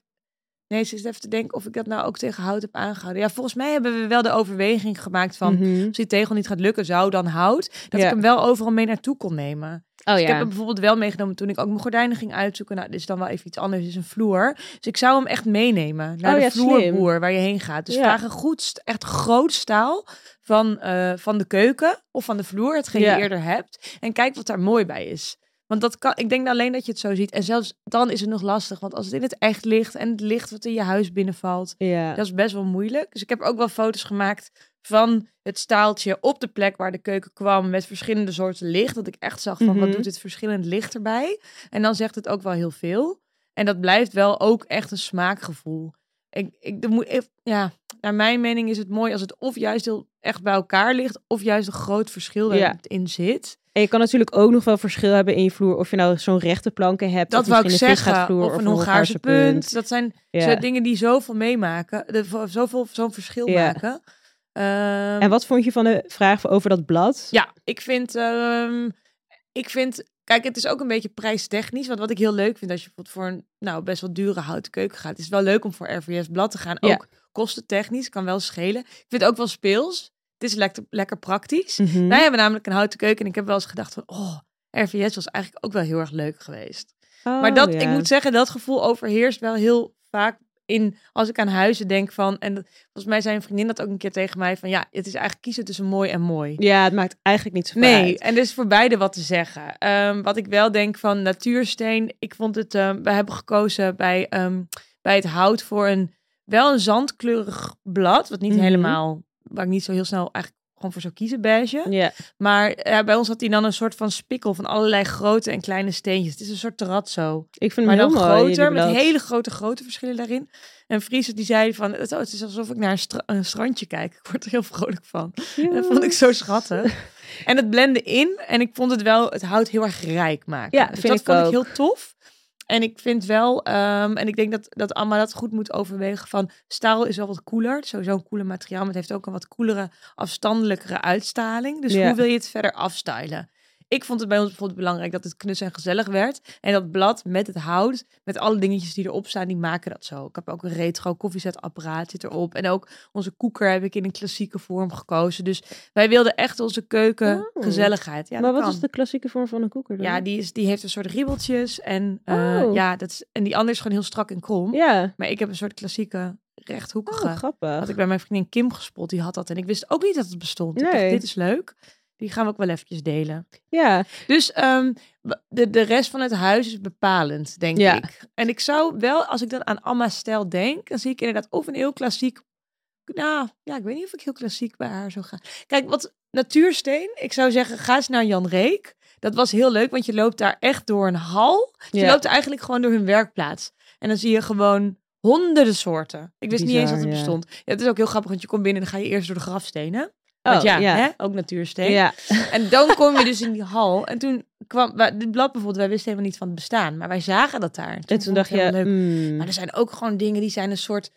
Nee, ze is even te denken of ik dat nou ook tegen hout heb aangehouden. Ja, volgens mij hebben we wel de overweging gemaakt van.
Mhm.
Als die tegel niet gaat lukken, zou dan hout. Dat
Ja.
ik hem wel overal mee naartoe kon nemen.
Oh
Dus Ik heb hem bijvoorbeeld wel meegenomen toen ik ook mijn gordijnen ging uitzoeken. Nou, dit is dan wel even iets anders. Dit is een vloer. Dus ik zou hem echt meenemen naar
Oh
de
ja, slim.
vloerboer waar je heen gaat. Dus
Ja.
vraag een goed, st- echt groot staal van, eh, van de keuken of van de vloer, hetgeen
Ja.
je eerder hebt. En kijk wat daar mooi bij is. Want dat kan, ik denk nou alleen dat je het zo ziet. En zelfs dan is het nog lastig. Want als het in het echt ligt en het licht wat in je huis binnenvalt,
Ja.
dat is best wel moeilijk. Dus ik heb ook wel foto's gemaakt van het staaltje op de plek waar de keuken kwam met verschillende soorten licht. Dat ik echt zag van
Mhm.
wat doet dit verschillend licht erbij. En dan zegt het ook wel heel veel. En dat blijft wel ook echt een smaakgevoel. Ik, ik, er moet, ik- ja, naar mijn mening is het mooi als het of juist heel echt bij elkaar ligt, of juist een groot verschil
Ja.
in zit.
En je kan natuurlijk ook nog wel verschil hebben in je vloer. Of je nou zo'n rechte planken hebt.
Dat
of
wou ik
misschien een
zeggen.
visgaatvloer
Of een Hongaarse punt. Dat zijn
Ja.
zo- dingen die zoveel meemaken, de- zo- zoveel, zo'n verschil
Ja.
maken. Ehm,
En wat vond je van de vraag over dat blad?
Ja, ik vind, ehm, ik vind, kijk, het is ook een beetje prijstechnisch. Want wat ik heel leuk vind als je bijvoorbeeld voor een nou, best wel dure houten keuken gaat, is het wel leuk om voor RVS blad te gaan.
Ja.
Ook kostentechnisch kan wel schelen. Ik vind het ook wel speels. Het is lekker, lekker praktisch.
Mhm.
Wij hebben namelijk een houten keuken en ik heb wel eens gedacht van, oh, RVS was eigenlijk ook wel heel erg leuk geweest. maar
Oh,
dat,
ja.
ik moet zeggen, dat gevoel overheerst wel heel vaak in als ik aan huizen denk van, en dat- volgens mij zei een vriendin dat ook een keer tegen mij van, ja, het is eigenlijk kiezen tussen mooi en mooi.
Ja, het maakt eigenlijk niet zoveel
Nee,
uit.
en er is voor beide wat te zeggen. Ehm, wat ik wel denk van natuursteen, ik vond het, ehm, we hebben gekozen bij, ehm, bij het hout voor een wel een zandkleurig blad, wat niet
Mhm.
helemaal, waar ik niet zo heel snel eigenlijk gewoon voor zou kiezen, beige.
Ja.
Maar eh, bij ons had hij dan een soort van spikkel van allerlei grote en kleine steentjes. Het is een soort terrazzo.
Ik vind hem
Maar
heel
dan
mooi,
groter,
jullie
met
blad.
hele grote, grote verschillen daarin. En Friese die zei van, het, oh, het is alsof ik naar een, stra- een strandje kijk. Ik word er heel vrolijk van. En dat vond ik zo schattig. En het blende in en ik vond het wel, het hout heel erg rijk maken.
Ja,
Dus
vind
dat
ik
vond
ook.
ik heel tof. En ik vind wel, ehm, en ik denk dat, dat Amma dat goed moet overwegen van, staal is wel wat koeler. Het is Sowieso een koeler materiaal, maar het heeft ook een wat koelere, afstandelijkere uitstraling. Dus
Ja.
hoe wil je het verder afstylen? Ik vond het bij ons bijvoorbeeld belangrijk dat het knus en gezellig werd. En dat blad met het hout, met alle dingetjes die erop staan, die maken dat zo. Ik heb ook een retro koffiezetapparaat zit erop. En ook onze koeker heb ik in een klassieke vorm gekozen. Dus wij wilden echt onze keuken
Oh.
gezelligheid. Ja,
maar
dat
wat is
kan.
de klassieke vorm van een koeker dan?
Ja, die, is, die heeft een soort ribbeltjes. En, eh,
Oh.
ja, dat is, en die andere is gewoon heel strak en krom.
Ja.
Maar ik heb een soort klassieke
Oh,
rechthoekige. Had
grappig.
ik bij mijn vriendin Kim gespot, die had dat. En ik wist ook niet dat het bestond. Ik dacht,
Nee.
dit is leuk. Die gaan we ook wel eventjes delen.
Ja.
Dus ehm, w- de, de rest van het huis is bepalend, denk
Ja.
ik. En ik zou wel, als ik dan aan Amma's stijl denk, dan zie ik inderdaad of een heel klassiek. Nou, ja, ik weet niet of ik heel klassiek bij haar zou gaan. Kijk, wat natuursteen. Ik zou zeggen, ga eens naar Jan Reek. Dat was heel leuk, want je loopt daar echt door een hal. Je
Ja.
loopt eigenlijk gewoon door hun werkplaats. En dan zie je gewoon honderden soorten. Ik wist niet eens
Bizar,
dat het
ja.
bestond. Ja, het is ook heel grappig, want je komt binnen en dan ga je eerst door de grafstenen.
Oh,
Want ja,
ja.
Hè? ook natuursteen.
Ja.
En dan kom je dus in die hal. En toen kwam wa- dit blad bijvoorbeeld, wij wisten helemaal niet van het bestaan, maar wij zagen dat daar.
En toen
vond ik
dacht
het
je,
helemaal leuk.
mm,
Maar er zijn ook gewoon dingen die zijn een soort,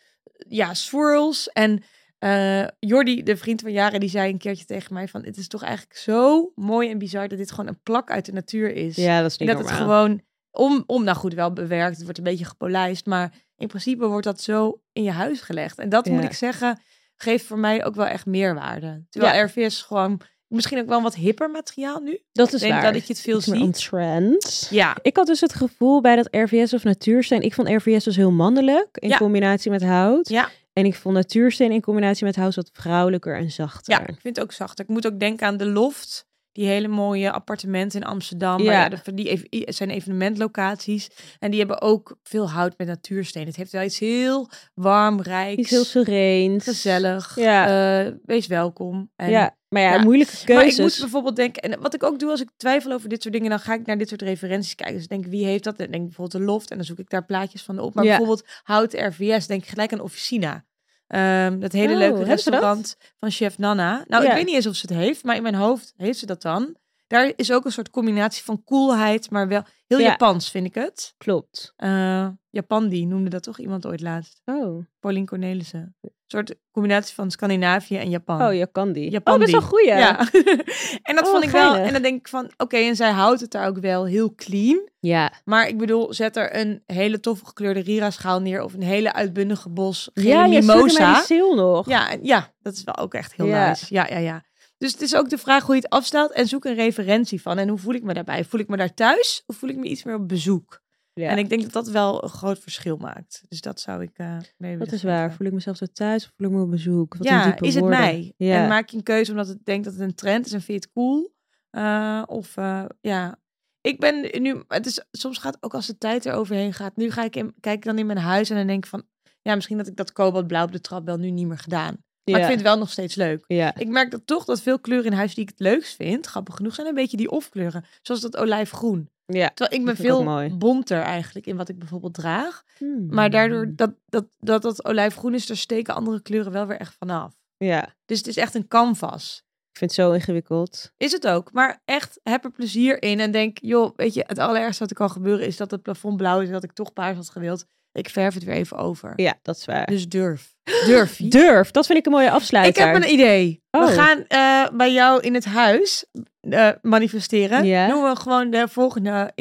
ja, swirls. En eh, Jordi, de vriend van Jaren, die zei een keertje tegen mij van, het is toch eigenlijk zo mooi en bizar dat dit gewoon een plak uit de natuur is.
ja, dat is
en
niet
dat
normaal.
het gewoon om, om, nou goed, wel bewerkt, het wordt een beetje gepolijst, maar in principe wordt dat zo in je huis gelegd. En dat moet
Ja.
ik zeggen, geeft voor mij ook wel echt meerwaarde. Terwijl
Ja.
RV is gewoon misschien ook wel een wat hipper materiaal nu.
dat is
Ik denk
waar.
dat ik je het veel
Iets meer on
ziet.
trend.
Ja,
Ik had dus het gevoel bij dat RVS of natuursteen. Ik vond RVS dus heel mannelijk in
Ja.
combinatie met hout.
Ja.
En ik vond natuursteen in combinatie met hout wat vrouwelijker en zachter.
ja, ik vind het ook zacht. Ik moet ook denken aan de Loft. Die hele mooie appartementen in Amsterdam. Ja.
Ja.
ja, de- die ev- i- zijn evenementlocaties. En die hebben ook veel hout met natuursteen. Het heeft wel iets heel warm, rijks,
Iets heel sereens.
gezellig.
Ja.
Eh, wees welkom. En
ja, maar ja,
Ja.
moeilijke keuzes.
Maar ik moet bijvoorbeeld denken, en wat ik ook doe als ik twijfel over dit soort dingen, dan ga ik naar dit soort referenties kijken. Dus ik denk, wie heeft dat? En ik denk bijvoorbeeld de loft en dan zoek ik daar plaatjes van op. Maar
Ja.
bijvoorbeeld hout RVS, denk ik gelijk aan Officina. Ehm, dat hele
Oh,
leuke
hebben ze dat?
restaurant van chef Nana. Nou,
Ja.
ik weet niet eens of ze het heeft, maar in mijn hoofd heeft ze dat dan. Daar is ook een soort combinatie van koelheid, maar wel heel
Ja.
Japans, vind ik het.
Klopt.
Eh Japan, die noemde dat toch iemand ooit laatst?
Oh,
Pauline Cornelissen. Een soort combinatie van Scandinavië en Japan.
oh Jakandi. Oh,
Japandi.
best wel een goeie.
Ja. en dat
Oh,
vond ik wel.
geinig.
En dan denk ik van, oké, en zij houdt het daar ook wel heel clean.
Ja.
Maar ik bedoal, zet er een hele toffe gekleurde Rira-schaal neer of een hele uitbundige bos. Gele
Ja, je stuurde mij die
mimosa.
sale nog.
Ja, en- ja, dat is wel ook echt heel
Ja.
nice. Ja, ja, ja. Dus het is ook de vraag hoe je het afstelt en zoek een referentie van. En hoe voel ik me daarbij? Voel ik me daar thuis of voel ik me iets meer op bezoek?
Ja.
En ik denk dat dat wel een groot verschil maakt. Dus dat zou ik eh mee willen
dat is
geven.
waar. Voel ik mezelf zo thuis of voel ik me op bezoek? Wat een
Ja,
diepe
is het
woorden.
mij?
Ja.
En maak je een keuze omdat het denkt dat het een trend is en vind je het cool? Eh, of eh, ja, ik ben nu, het is, soms gaat ook als de tijd er overheen gaat. Nu ga ik in, kijk ik dan in mijn huis en dan denk ik van, ja, misschien dat ik dat kobaltblauw op de trap wel nu niet meer gedaan.
ja.
Maar ik vind het wel nog steeds leuk.
ja.
Ik merk dat toch dat veel kleuren in huis die ik het leukst vind, grappig genoeg, zijn een beetje die off-kleuren. Zoals dat olijfgroen.
Ja.
Terwijl ik
Dat
ben
vind ik ook
veel
mooi.
bonter eigenlijk in wat ik bijvoorbeeld draag.
Hmm.
Maar daardoor dat dat, dat dat olijfgroen is, daar steken andere kleuren wel weer echt vanaf.
Ja,
Dus het is echt een canvas.
ik vind het zo ingewikkeld.
Is het ook. Maar echt, heb er plezier in. En denk, joh, weet je, het allerergste wat er kan gebeuren is dat het plafond blauw is. En dat ik toch paars had gewild. Ik verf het weer even over.
Ja, dat is waar.
Dus durf. Durf.
Durf, dat vind ik een mooie
ik
afsluiter.
heb een idee.
Oh.
We gaan eh, bij jou in het huis eh, manifesteren.
Ja.
Noemen we gewoon de volgende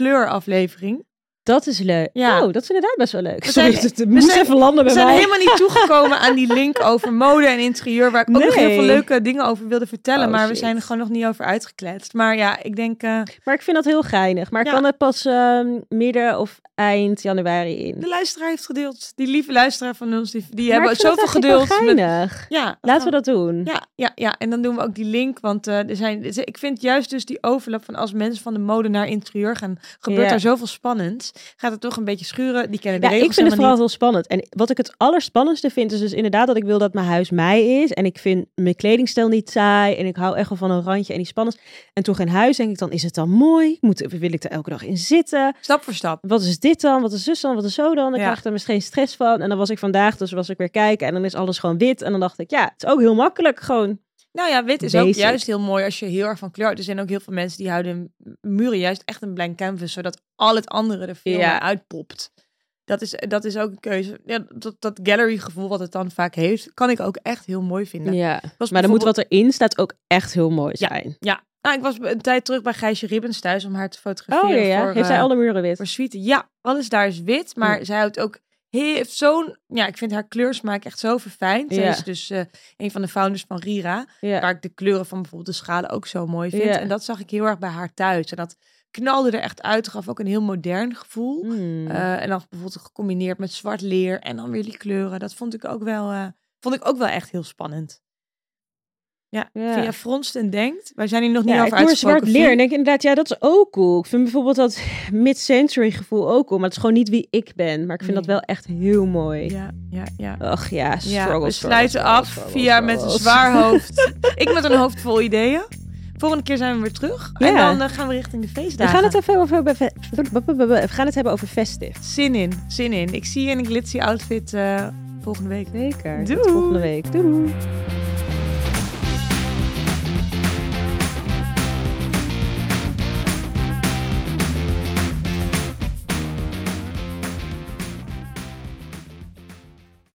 interieurkleuraflevering.
Dat is leuk.
Ja.
Oh, dat is inderdaad best wel leuk.
We
Sorry,
zijn-
het het moest
zijn-
even landen
We
bij
zijn
mij.
helemaal niet toegekomen aan die link over mode en interieur, waar ik ook nog heel veel
Nee.
leuke dingen over wilde vertellen.
Oh,
maar we
shit.
zijn er gewoon nog niet over uitgekletst. Maar ja, ik denk. eh,
Maar ik vind dat heel geinig. Maar
Ja.
kan het pas ehm, midden of eind januari in?
De luisteraar heeft geduld. Die lieve luisteraar van ons, die, die
Maar
hebben
ik vind dat
zoveel
eigenlijk wel
geduld. met-
geinig.
ja,
Laten we dat doen.
Ja, ja, ja, en dan doen we ook die link. Want eh, er zijn, ik vind juist dus die overlap van als mensen van de mode naar interieur gaan, gebeurt
Ja.
daar zoveel spannends. hebt, gaat het toch een beetje schuren. Die kennen de
Ja, ik
regels
vind het
helemaal
vooral heel spannend. En wat ik het allerspannendste vind, is dus inderdaad dat ik wil dat mijn huis mij is. En ik vind mijn kledingstijl niet saai. En ik hou echt wel van een randje en die spannend. En toch geen huis, denk ik dan, is het dan mooi? Moet, wil ik er elke dag in zitten?
niet. Stap voor stap.
Wat is dit dan? Wat is zus dan? Wat is zo dan? Dan
Ja.
krijg ik er misschien stress van. En dan was ik vandaag, dus was ik weer kijken. En dan is alles gewoon wit. En dan dacht ik, ja, het is ook heel makkelijk. Gewoon,
Nou ja, wit is ook
Basic.
juist heel mooi als je heel erg van kleur houdt. Er zijn ook heel veel mensen die houden muren juist echt een blank canvas, zodat al het andere er veel
Ja.
meer uitpopt. Dat is, dat is ook een keuze. Ja, dat, dat gallery gevoel wat het dan vaak heeft, kan ik ook echt heel mooi vinden.
ja.
Was
Maar dan moet
bijvoorbeeld-
wat erin staat ook echt heel mooi
Ja.
zijn.
Ja, nou, ik was een tijd terug bij Gijsje Ribbens thuis om haar te
Oh
fotograferen.
ja, ja.
Voor,
Heeft zij
eh,
alle muren wit?
voor suite. Ja, alles daar is wit, maar zij houdt ook heeft zo'n, ja, ik vind haar kleursmaak echt zo verfijnd. Zij
Ja.
is dus eh, een van de founders van Rira.
Ja.
Waar ik de kleuren van bijvoorbeeld de schalen ook zo mooi vind.
Ja.
En dat zag ik heel erg bij haar thuis. En dat knalde er echt uit. Gaf ook een heel modern gevoel.
Hmm.
Eh, en dan bijvoorbeeld gecombineerd met zwart leer. En dan weer die kleuren. Dat vond ik ook wel, eh, vond ik ook wel echt heel spannend. Ja,
Ja.
via fronst en denkt. Wij zijn hier nog niet
Ja, ik
over
hoor
uitgesproken.
zwart leer. En
Fien.
denk ik inderdaad, ja, dat is ook cool. Ik vind bijvoorbeeld dat mid-century gevoel ook cool. Maar het is gewoon niet wie ik ben. Maar ik vind dat
Nee.
wel echt heel mooi.
Ja, ja, ja.
Ach ja, struggle,
Ja, we
Oh, struggle,
sluiten
struggle,
af
struggle,
via met een
struggle.
zwaar hoofd. ik met een hoofd vol ideeën. Volgende keer zijn we weer terug. En
Ja.
dan eh, gaan we richting de
We
feestdagen.
gaan, het even over, we gaan het hebben over festive.
Zin in, zin in. Ik zie je in een glitzy outfit eh, volgende week.
Zeker.
Doei.
Tot volgende week. Doei. doei.